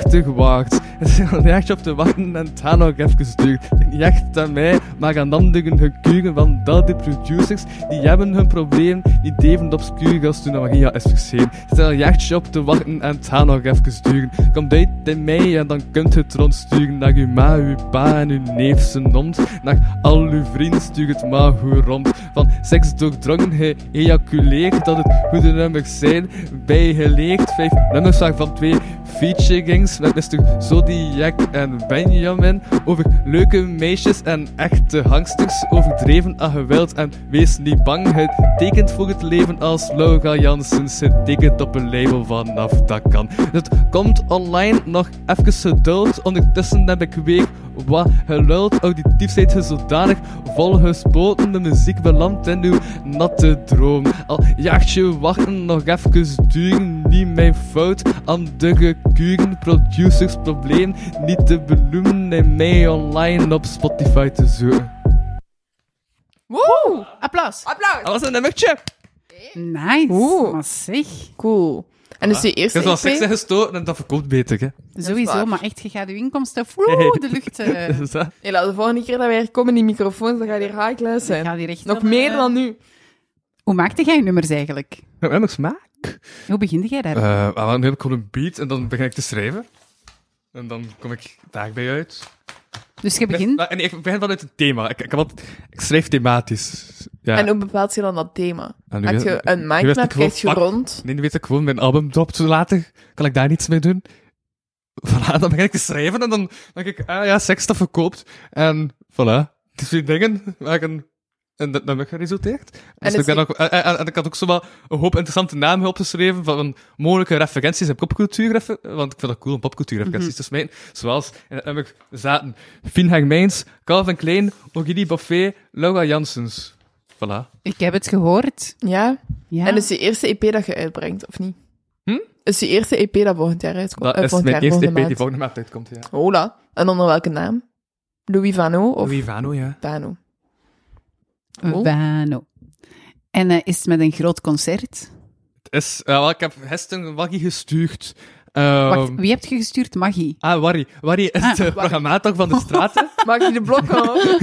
Speaker 4: achterwaarts. Het is al echt op te wachten en het gaat nog even duurt. Niet echt aan mij, maar aan anderen gekuren van dat die producers, die hebben hun probleem niet even obscuur als toen dat Maria is verschenen. Het is al een jaartje op te wachten en het gaat nog even duren. Kom uit in mei en dan kunt je het rondsturen naar uw ma, uw pa en uw neef zijn hond. Naar al uw vrienden stuur het maar goed rond. Van seks doordrongen geëjaculeerd dat het goede nummers zijn. Bijgeleerd vijf nummers van twee featurings met Mr. Zodiac en Benjamin over leuke meisjes en echte hangsters, overdreven aan geweld en wees niet bang. Het tekent voor het leven als Laura Janssens, het tekent op een label vanaf dat kan. Het komt online, nog even geduld, ondertussen heb ik weer wat geluid, auditief zijt ge zodanig volgespoten, de muziek belandt in uw natte droom. Al jaartje wachten, nog even duren, niet mijn fout, aan de kuren, producers probleem, niet te benoemen en mij online op Spotify te zoeken.
Speaker 5: Woe!
Speaker 3: Applaus.
Speaker 4: Dat
Speaker 5: Applaus!
Speaker 4: was een nummertje! Ah.
Speaker 3: Nice.
Speaker 5: Oeh.
Speaker 3: Maar zeg,
Speaker 5: Cool. En dus die
Speaker 4: Ik heb
Speaker 5: eerste
Speaker 4: wel seks
Speaker 5: EP...
Speaker 4: gestoten en dat verkoopt beter, hè.
Speaker 3: sowieso,
Speaker 5: waar.
Speaker 3: maar echt, je gaat je inkomsten vroeg de lucht... eh,
Speaker 4: Dus dat-
Speaker 5: Hela, de volgende keer dat wij hier komen, die microfoons, dan gaat hier high class
Speaker 3: ik ga
Speaker 5: zijn.
Speaker 3: hier echt
Speaker 5: Nog
Speaker 3: wel,
Speaker 5: meer
Speaker 3: eh,
Speaker 5: dan nu.
Speaker 3: Hoe maakte jij je nummers eigenlijk?
Speaker 4: Nou, heb ik smaak?
Speaker 3: Hoe beginde jij daar?
Speaker 4: Eh, ah, dan heb ik gewoon een beat en dan begin ik te schrijven. En dan kom ik daarbij uit.
Speaker 3: dus je begint...
Speaker 4: Nou, en ik begin vanuit het thema. Ik, ik, heb altijd- ik schrijf thematisch. Ja.
Speaker 5: En hoe bepaalt je dan dat thema?
Speaker 4: En nu
Speaker 5: Heb
Speaker 4: weet-
Speaker 5: je een
Speaker 4: nu weet
Speaker 5: mindmap,
Speaker 4: ik gewoon,
Speaker 5: krijg je
Speaker 4: fuck,
Speaker 5: rond?
Speaker 4: Nee, nu weet ik gewoon, mijn album dropt zo later. Kan ik daar niets mee doen? Voilà, dan begin ik te schrijven en dan denk ik, ah ja, seks dat verkoopt. En voilà, die twee dingen maken en dat nummer geresulteerd. Dus
Speaker 5: is
Speaker 4: ik ben
Speaker 5: die-
Speaker 4: ook, en, en- en ik had ook zowel een hoop interessante namen opgeschreven van mogelijke referenties in popcultuur, refer- want ik vind dat cool om popcultuurreferenties
Speaker 5: Mhm.
Speaker 4: te smijten. Zoals, en dat nummer zaten Fien Hermijns, Calvin Klein, Ogidi Buffet, Laura Janssens. Voilà.
Speaker 3: Ik heb het gehoord.
Speaker 5: Ja?
Speaker 3: Ja.
Speaker 5: En is die eerste EP dat je uitbrengt, of niet?
Speaker 4: Hm?
Speaker 5: Is die eerste EP dat volgend jaar uitkomt?
Speaker 4: Dat
Speaker 5: Eh,
Speaker 4: is
Speaker 5: volgend
Speaker 4: mijn
Speaker 5: jaar,
Speaker 4: eerste
Speaker 5: volgende
Speaker 4: EP die
Speaker 5: maand.
Speaker 4: volgende maand uitkomt, ja.
Speaker 5: Hola. En onder welke naam? Louis Vano of
Speaker 4: Louis Vano, ja.
Speaker 5: Vano? Oh.
Speaker 3: Wano. En eh, is het met een groot concert?
Speaker 4: Het is, eh, wel, ik heb gisteren een waggie gestuurd. Ehm,
Speaker 3: Wacht, wie heb je gestuurd? Maggie.
Speaker 4: Ah, Warry. Warry is de programmator van de straten.
Speaker 5: Maak je de blokken hoor.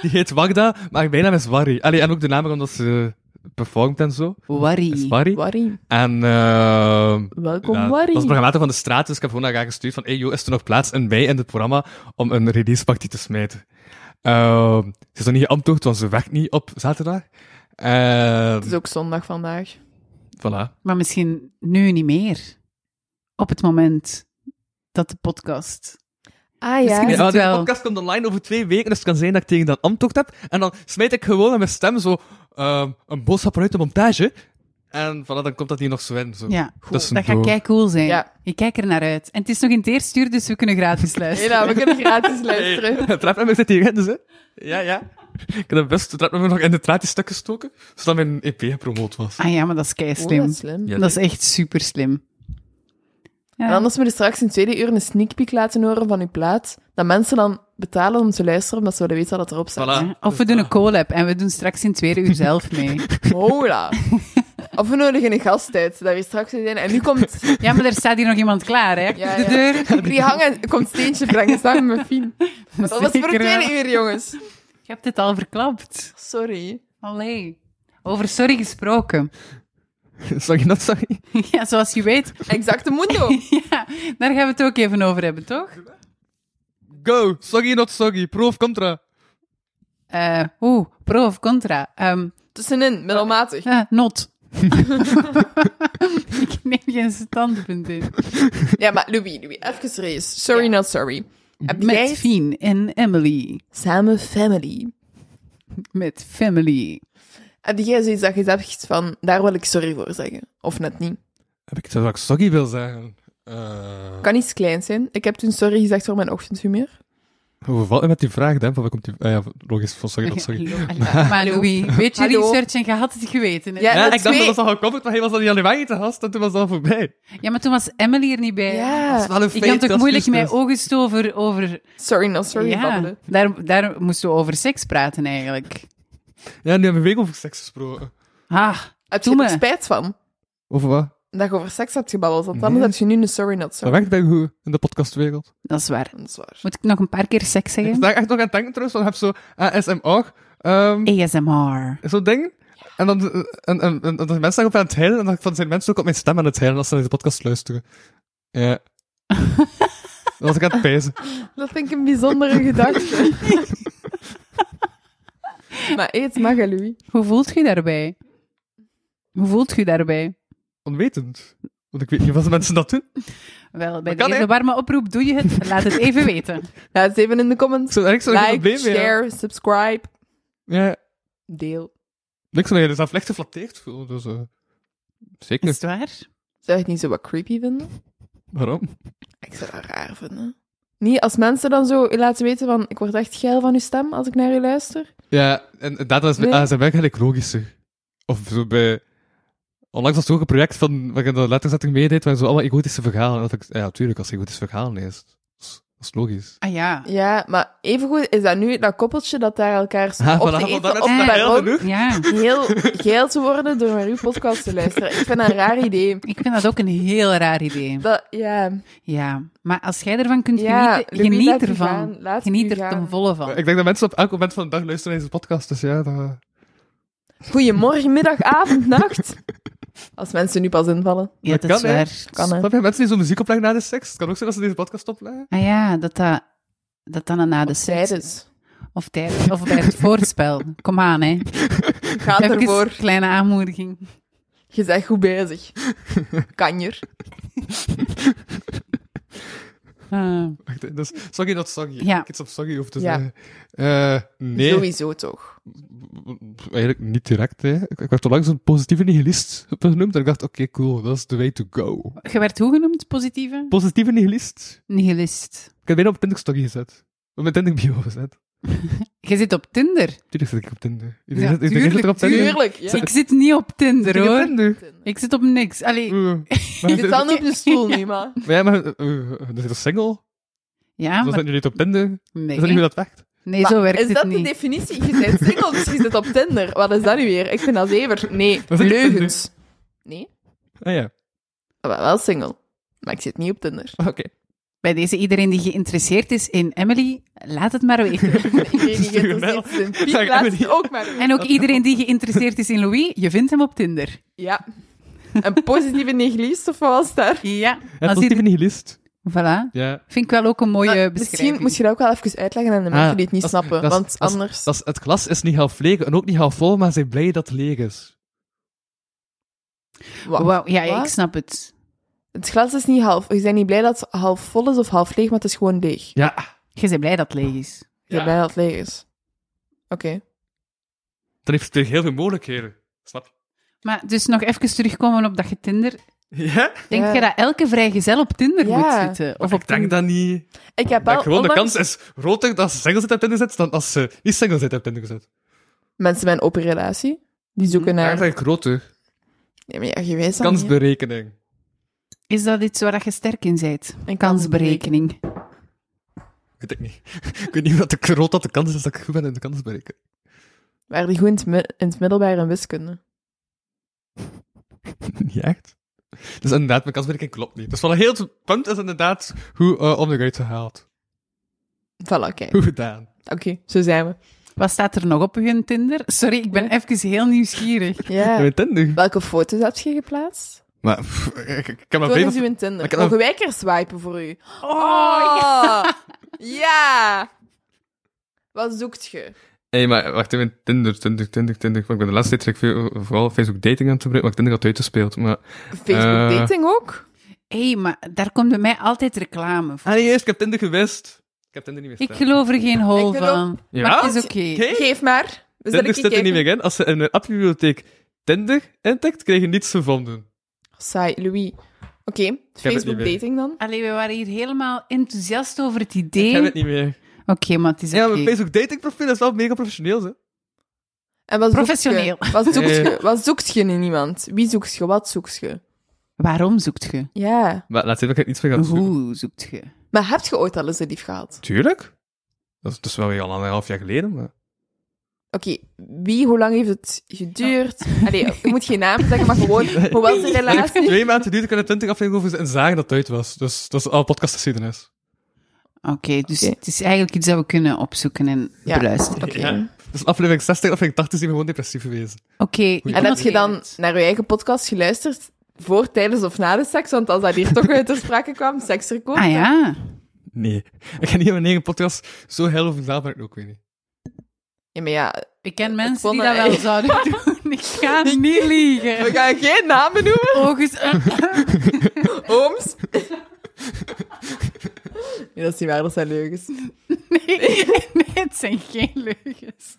Speaker 4: Die heet Wagda, maar haar bijnaam is Warry. Allee, en ook de naam omdat ze performt en zo. Is
Speaker 3: Worry.
Speaker 4: Warry.
Speaker 5: Warrie.
Speaker 4: En ehm
Speaker 5: Welkom,
Speaker 4: ja,
Speaker 5: Warrie.
Speaker 4: was de programmator van de straten, dus ik heb gewoon naar haar gestuurd van hey joh, is er nog plaats in mij in het programma om een releaseparty te smijten? Ehm, ze is nog niet geantwoord, want ze werkt niet op zaterdag. Ehm
Speaker 5: Het is ook zondag vandaag.
Speaker 4: Voilà.
Speaker 3: Maar misschien nu niet meer. Op het moment dat de podcast...
Speaker 5: Ah
Speaker 3: Misschien
Speaker 5: ja.
Speaker 3: is-
Speaker 4: Ja,
Speaker 3: het
Speaker 4: deze
Speaker 3: wel.
Speaker 4: podcast komt online over twee weken, dus het kan zijn dat ik tegen dat amtocht heb. En dan smijt ik gewoon met mijn stem zo ehm, een boodschap uit de montage. En voilà, dan komt dat hier nog zo in. Zo.
Speaker 3: Ja,
Speaker 4: Tussendoor.
Speaker 3: dat gaat kei cool zijn.
Speaker 5: Ja.
Speaker 3: Ik kijk er naar uit. En het is nog in het eerste uur, dus we kunnen gratis luisteren.
Speaker 5: Hela, nou, we kunnen gratis
Speaker 4: Hey,
Speaker 5: luisteren.
Speaker 4: het trapnummer zit hierin, dus hè? Ja, ja. Ik heb best het trapnummer nog in de tralies stuk gestoken, zodat mijn EP gepromoot was.
Speaker 3: Ah ja, maar dat is kei
Speaker 5: Oh,
Speaker 3: slim.
Speaker 5: dat is slim.
Speaker 4: Ja,
Speaker 3: Dat is echt super slim.
Speaker 5: En anders moeten we straks in het tweede uur een sneak peek laten horen van uw plaat. Dat mensen dan betalen om te luisteren, omdat ze willen weten wat dat erop staat.
Speaker 4: Voilà.
Speaker 3: Ah. Of we doen een collab en we doen straks in het tweede uur zelf mee.
Speaker 5: Hola. Of we nodigen een gast uit, dat we straks weer zijn. En nu komt...
Speaker 3: Ja, maar er staat hier nog iemand klaar, hè?
Speaker 5: Ja,
Speaker 3: De
Speaker 5: ja.
Speaker 3: deur.
Speaker 5: Die hangen komt steentje brengen samen met Fien. Maar dat was voor het
Speaker 3: Zeker wel.
Speaker 5: tweede uur, jongens.
Speaker 3: Je hebt het al verklapt.
Speaker 5: Sorry.
Speaker 3: Allee. Over sorry gesproken.
Speaker 4: Sorry, not sorry.
Speaker 3: Ja, zoals je weet.
Speaker 5: Exacte mundo.
Speaker 3: Ja, daar gaan we het ook even over hebben, toch?
Speaker 4: Go! Sorry, not sorry. Pro of contra?
Speaker 3: Eh Oeh, pro of contra? Ehm,
Speaker 5: Tussenin, middelmatig.
Speaker 3: eh, not. Ik neem geen standpunt in.
Speaker 5: Ja, maar Louis, Louis, even serieus. Sorry,
Speaker 3: Ja.
Speaker 5: not sorry. Heb
Speaker 3: Met
Speaker 5: jij
Speaker 3: Fien en Emily.
Speaker 5: samen family?
Speaker 3: Met family.
Speaker 5: Heb jij zoiets dat je zegt van, daar wil ik sorry voor zeggen? Of net niet?
Speaker 4: Heb ik dat ik sorry wil zeggen? Eh,
Speaker 5: Kan iets kleins zijn. Ik heb toen sorry gezegd voor mijn ochtendhumeur.
Speaker 4: Overvalt me met die vraag, dan? Van waar komt die... Ah ja, logisch, vol- sorry, oh, sorry.
Speaker 3: Maar, maar Louis, weet je
Speaker 5: Hallo.
Speaker 3: research en je had het geweten. hè?
Speaker 5: Ja,
Speaker 4: Ja,
Speaker 5: dat
Speaker 4: ik dacht
Speaker 5: twee-
Speaker 4: dat was al gekoppeld, maar hij was al in januari te gast en toen was dat al voorbij.
Speaker 3: Ja, maar toen was Emily er niet bij.
Speaker 5: Ja.
Speaker 4: wel een
Speaker 3: Ik kan toch moeilijk
Speaker 5: dus-
Speaker 3: mijn ogen stoven over...
Speaker 5: Sorry, no sorry,
Speaker 3: ja,
Speaker 5: babbelen.
Speaker 3: daar, daar moesten we over seks praten eigenlijk.
Speaker 4: Ja, nu hebben we week over seks gesproken.
Speaker 3: Ah,
Speaker 5: Heb
Speaker 3: Doe
Speaker 5: je er
Speaker 3: me.
Speaker 5: spijt van?
Speaker 4: Over wat?
Speaker 5: Dat je over seks hebt gebabbeld, want
Speaker 4: Nee.
Speaker 3: Mhm.
Speaker 5: anders heb je nu een sorry, not
Speaker 4: Dat
Speaker 5: sorry.
Speaker 4: werkt bij hoe in de podcastwereld.
Speaker 3: dat is waar.
Speaker 5: Dat is waar.
Speaker 3: Moet ik nog een paar keer seks
Speaker 4: Ik was
Speaker 3: zeggen?
Speaker 4: daar echt nog aan het denken trouwens, want je hebt zo ASMR, ehm
Speaker 3: ASMR.
Speaker 4: zo'n ding. En dan eh, en, en, en, en dan mensen daarop aan het heilen, en dan van, zijn mensen ook op mijn stem aan het heilen als ze naar de podcast luisteren. Ja. dat was ik aan het pezen.
Speaker 5: Dat vind ik een bijzondere gedachte. maar eet mag, hè, Louis.
Speaker 3: Hoe voelt je daarbij? Hoe voelt je daarbij?
Speaker 4: Onwetend. Want ik weet niet wat de mensen dat doen.
Speaker 3: Wel, bij
Speaker 4: Dat kan,
Speaker 3: deze
Speaker 4: hè?
Speaker 3: warme oproep doe je het. Laat het even weten.
Speaker 5: Laat het even in de comments.
Speaker 4: Ik zou er niks zo'n
Speaker 5: Like,
Speaker 4: probleem mee hebben.
Speaker 5: share, subscribe,
Speaker 4: Ja,
Speaker 5: deel.
Speaker 4: niks van je dus afleg geflatteerd voelen. Dus, eh, zeker.
Speaker 3: Is het waar?
Speaker 5: Zou je het niet zo wat creepy vinden?
Speaker 4: Waarom?
Speaker 5: Ik zou dat raar vinden. Niet als mensen dan zo u laten weten van, ik word echt geil van uw stem als ik naar u luister.
Speaker 4: Ja, en en dat is bij
Speaker 5: Nee.
Speaker 4: ASMR eigenlijk logischer. Of zo bij... Onlangs was er ook een project van, waar ik de letterzetting meedeed, waar zo allemaal egoïstische verhalen... en Dat ik, ja, natuurlijk, als je egoïstische verhalen leest. Dat is, dat is logisch.
Speaker 3: Ah ja.
Speaker 5: Ja, maar evengoed is dat nu dat koppeltje dat daar elkaar stond
Speaker 4: Ja,
Speaker 5: op
Speaker 4: Ah, voilà,
Speaker 5: te
Speaker 4: want
Speaker 5: eten
Speaker 4: dat is
Speaker 5: op
Speaker 3: wel
Speaker 5: de
Speaker 4: heel
Speaker 5: perron,
Speaker 4: genoeg.
Speaker 3: Ja,
Speaker 5: heel geil te worden door naar uw podcast te luisteren. Ik vind dat een raar idee.
Speaker 3: ik vind dat ook een heel raar idee.
Speaker 5: Dat, ja,
Speaker 3: Ja, maar als jij ervan kunt
Speaker 5: ja
Speaker 3: genieten,
Speaker 5: Louis, laat
Speaker 3: geniet
Speaker 5: u
Speaker 3: ervan.
Speaker 5: gaan. Laat u
Speaker 3: Geniet er
Speaker 5: gaan.
Speaker 3: ten volle van.
Speaker 4: Ik denk dat mensen op elk moment van de dag luisteren naar deze podcast, dus ja, dat...
Speaker 5: Goedemorgen, middag, avond, nacht. Als mensen nu pas invallen,
Speaker 3: Ja,
Speaker 4: dat
Speaker 3: dat is
Speaker 4: kan, hè?
Speaker 3: waar.
Speaker 5: kan hè.
Speaker 4: Snap je, mensen die zo muziek opleggen na de seks? Het kan ook zijn dat ze deze podcast opleggen.
Speaker 3: Ah ja, dat dat, dat dan na de seks...
Speaker 5: Tijdens.
Speaker 3: Of tijdens. Of bij het voorspel. Kom aan, hè.
Speaker 5: Gaat
Speaker 3: Even
Speaker 5: ervoor.
Speaker 3: een kleine aanmoediging.
Speaker 5: Je bent goed bezig. Kanjer.
Speaker 3: Ah.
Speaker 4: Wacht, hè, Dus, sorry, dat sorry.
Speaker 3: Ja.
Speaker 4: Ik iets op sorry hoef te
Speaker 5: Ja.
Speaker 4: zeggen. Eh, nee,
Speaker 5: Sowieso toch.
Speaker 4: eigenlijk niet direct, hè. Ik, ik werd onlangs een positieve nihilist genoemd en ik dacht, oké, cool, dat is the way to go.
Speaker 3: Je werd hoe genoemd? Positieve?
Speaker 4: Positieve nihilist?
Speaker 3: Nihilist.
Speaker 4: Ik heb bijna op Tinder story gezet. Op mijn Tinder bio gezet.
Speaker 3: Je zit op Tinder.
Speaker 4: Tuurlijk zit ik op Tinder. Ik
Speaker 3: Ja,
Speaker 4: zit ik denk
Speaker 3: tuurlijk,
Speaker 4: dat ik op Tinder.
Speaker 5: Tuurlijk. Ja.
Speaker 3: Ik zit niet op Tinder,
Speaker 4: Zit ik op
Speaker 3: hoor.
Speaker 4: Tinder?
Speaker 3: Ik zit op niks. Allee,
Speaker 4: Oeh. Maar
Speaker 5: Je zit dan op je stoel nu, maar...
Speaker 4: maar ja, maar... eh, eh, dat is een single.
Speaker 3: ja, maar
Speaker 4: Dan zijn jullie niet op Tinder. Is dat niet hoe
Speaker 3: nee.
Speaker 4: dat werkt?
Speaker 3: Nee,
Speaker 5: Maar
Speaker 3: zo werkt
Speaker 5: is dat
Speaker 3: het
Speaker 5: de
Speaker 3: niet.
Speaker 5: definitie? Je bent single, dus je zit op Tinder. Wat is dat nu weer? Ik vind dat zever. Nee,
Speaker 4: Dat is
Speaker 5: leugens. Nee,
Speaker 4: Ah ja,
Speaker 5: ik ben wel single. Maar ik zit niet op Tinder.
Speaker 4: oké.
Speaker 3: Bij deze iedereen die geïnteresseerd is in Emily, laat het maar weten.
Speaker 5: Iedereen die
Speaker 4: Stuur een
Speaker 5: geïnteresseerd is in Piet,
Speaker 4: Zeg,
Speaker 5: laat
Speaker 4: Emily.
Speaker 5: het ook maar weten.
Speaker 3: en ook iedereen die geïnteresseerd is in Louis, je vindt hem op Tinder.
Speaker 5: Ja. Een positieve nihilist, of wat was daar?
Speaker 3: Ja.
Speaker 4: Ja,
Speaker 3: Als
Speaker 4: positieve
Speaker 3: ieder-
Speaker 4: nihilist.
Speaker 3: Voilà.
Speaker 4: Ja.
Speaker 3: Vind ik wel ook een mooie
Speaker 5: Maar
Speaker 3: beschrijving.
Speaker 5: Eh, Misschien moet je dat ook wel even uitleggen aan de mensen
Speaker 4: Ah,
Speaker 5: die het niet
Speaker 4: dat is-
Speaker 5: snappen.
Speaker 4: dat is-
Speaker 5: want
Speaker 4: dat is-
Speaker 5: anders...
Speaker 4: Dat is, het glas is niet half leeg en ook niet half vol, maar ze zijn blij dat het leeg is.
Speaker 5: Wat?
Speaker 3: Wauw, ja,
Speaker 5: Wat?
Speaker 3: ik snap het.
Speaker 5: Het glas is niet half... Je bent niet blij dat het half vol is of half leeg, maar het is gewoon leeg.
Speaker 4: Ja.
Speaker 3: Je bent blij dat het leeg is.
Speaker 5: Je bent blij dat het leeg is. Oké.
Speaker 4: Dan heeft het heel veel mogelijkheden. Snap je?
Speaker 3: Maar dus nog even terugkomen op dat je Tinder...
Speaker 4: Ja?
Speaker 3: Denk
Speaker 5: Ja.
Speaker 3: je dat elke vrijgezel op Tinder
Speaker 5: Ja.
Speaker 3: moet zitten? Of op
Speaker 4: Ik denk
Speaker 3: Tinder?
Speaker 4: dat niet.
Speaker 5: Ik heb
Speaker 4: Dat
Speaker 5: wel
Speaker 4: gewoon
Speaker 5: onlangs-
Speaker 4: de kans is groter dat ze single zit op Tinder zit dan als ze niet single zit op Tinder zit.
Speaker 5: mensen met een open relatie, die
Speaker 3: Mhm.
Speaker 5: zoeken
Speaker 4: Ja.
Speaker 5: naar...
Speaker 4: Eigenlijk groter.
Speaker 5: Ja, maar ja, je weet dat niet, hè.
Speaker 4: Kansberekening.
Speaker 3: Is dat iets waar dat je sterk in bent?
Speaker 5: Een
Speaker 3: Kansberekening.
Speaker 4: Weet ik niet. ik weet niet wat de groot dat de kans is dat ik goed ben in de kansberekening.
Speaker 5: Waar die goed in het, mi- in het middelbaar in wiskunde.
Speaker 4: niet echt. Dus inderdaad, mijn kansberekening klopt niet. Dus van een heel het punt is inderdaad hoe eh, om de uit gehaald.
Speaker 5: Voilà, kijk.
Speaker 4: Hoe gedaan.
Speaker 5: Oké, zo zijn we.
Speaker 3: Wat staat er nog op je Tinder? Sorry, ik ben
Speaker 5: Ja.
Speaker 3: even heel nieuwsgierig.
Speaker 4: Ja.
Speaker 5: Ja.
Speaker 4: Met Tinder.
Speaker 5: Welke foto's heb je geplaatst?
Speaker 4: Maar pff, ik, ik kan maar
Speaker 5: Toon is
Speaker 4: veel...
Speaker 5: uw Tinder.
Speaker 4: ik heb
Speaker 5: Mogen
Speaker 4: nog-
Speaker 5: wij een keer swipen voor u?
Speaker 3: Oh,
Speaker 5: ja! Wat zoekt je?
Speaker 4: Hé, hey, maar wacht even. Tinder, Tinder, Tinder, Tinder. Want ik ben de laatste tijd veel- vooral Facebook dating aan het gebruiken, maar ik Tinder had uitgespeeld. Maar...
Speaker 5: Facebook
Speaker 4: Eh.
Speaker 5: dating ook?
Speaker 3: Hé, hey, maar daar komt bij mij altijd reclame voor.
Speaker 4: Ah nee, eerst, ik heb Tinder gewist. Ik heb Tinder niet meer
Speaker 3: Ik geloof er geen hol
Speaker 5: Ik geloof-
Speaker 3: van.
Speaker 4: Ja?
Speaker 3: Maar het is oké. dus
Speaker 4: Oké.
Speaker 5: Geef maar. We zullen
Speaker 4: Tinder zit er
Speaker 5: kijken.
Speaker 4: niet meer in. Als ze in een eh, appbibliotheek Tinder intikt, krijg je niets gevonden.
Speaker 5: Saai, Louis. Oké,
Speaker 4: het
Speaker 5: Facebook
Speaker 4: niet meer.
Speaker 5: dating dan?
Speaker 3: Allee, we waren hier helemaal enthousiast over het
Speaker 4: Ik
Speaker 3: idee.
Speaker 4: heb het niet meer.
Speaker 3: Oké, maar het is
Speaker 4: Ja,
Speaker 3: oké.
Speaker 4: mijn Facebook datingprofiel is wel mega professioneel, hè.
Speaker 5: En wat
Speaker 3: Professioneel.
Speaker 5: Zoekt je? Wat, zoekt
Speaker 4: Eh.
Speaker 5: je? wat zoekt je in iemand? Wie zoekt je? Wat zoekt je?
Speaker 3: Waarom zoekt je?
Speaker 5: Ja.
Speaker 4: Maar laat even iets van gaan zoeken.
Speaker 3: Hoe zoekt je?
Speaker 5: Maar heb je ooit al eens een lief gehad?
Speaker 4: Tuurlijk. Dat is, dat is wel weer al anderhalf jaar geleden, maar...
Speaker 5: Oké, wie, hoe lang heeft het geduurd? Allee, je moet geen naam zeggen, maar gewoon, hoe was de relatie?
Speaker 4: Twee maanden duurde ik aan de 20 afleveringen over en zagen dat het uit was. Dus dat is al podcastgeschiedenis.
Speaker 3: Oké, dus
Speaker 5: Oké.
Speaker 3: het is eigenlijk iets dat we kunnen opzoeken en
Speaker 5: Ja.
Speaker 3: beluisteren.
Speaker 5: Oké.
Speaker 4: Dus aflevering 60 aflevering 80 zijn we gewoon depressief geweest.
Speaker 3: Oké.
Speaker 5: En heb je dan naar je eigen podcast geluisterd? Voor, tijdens of na de seks? Want als dat hier toch uit ter sprake kwam, seksrecord.
Speaker 3: Ah ja.
Speaker 4: Nee. Ik ga niet in mijn eigen podcast zo heel over zaal, maar ik ook weer niet.
Speaker 5: Ja, maar ja,
Speaker 3: Ik ken mensen
Speaker 5: vond
Speaker 3: die
Speaker 5: dat
Speaker 3: dat wel
Speaker 5: echt-
Speaker 3: zouden doen. Ik ga niet
Speaker 5: we
Speaker 3: liegen.
Speaker 5: gaan geen namen noemen.
Speaker 3: Oogjes.
Speaker 5: Ooms. Nee, dat is niet waar, dat zijn leugens.
Speaker 3: Nee, nee, het zijn geen leugens.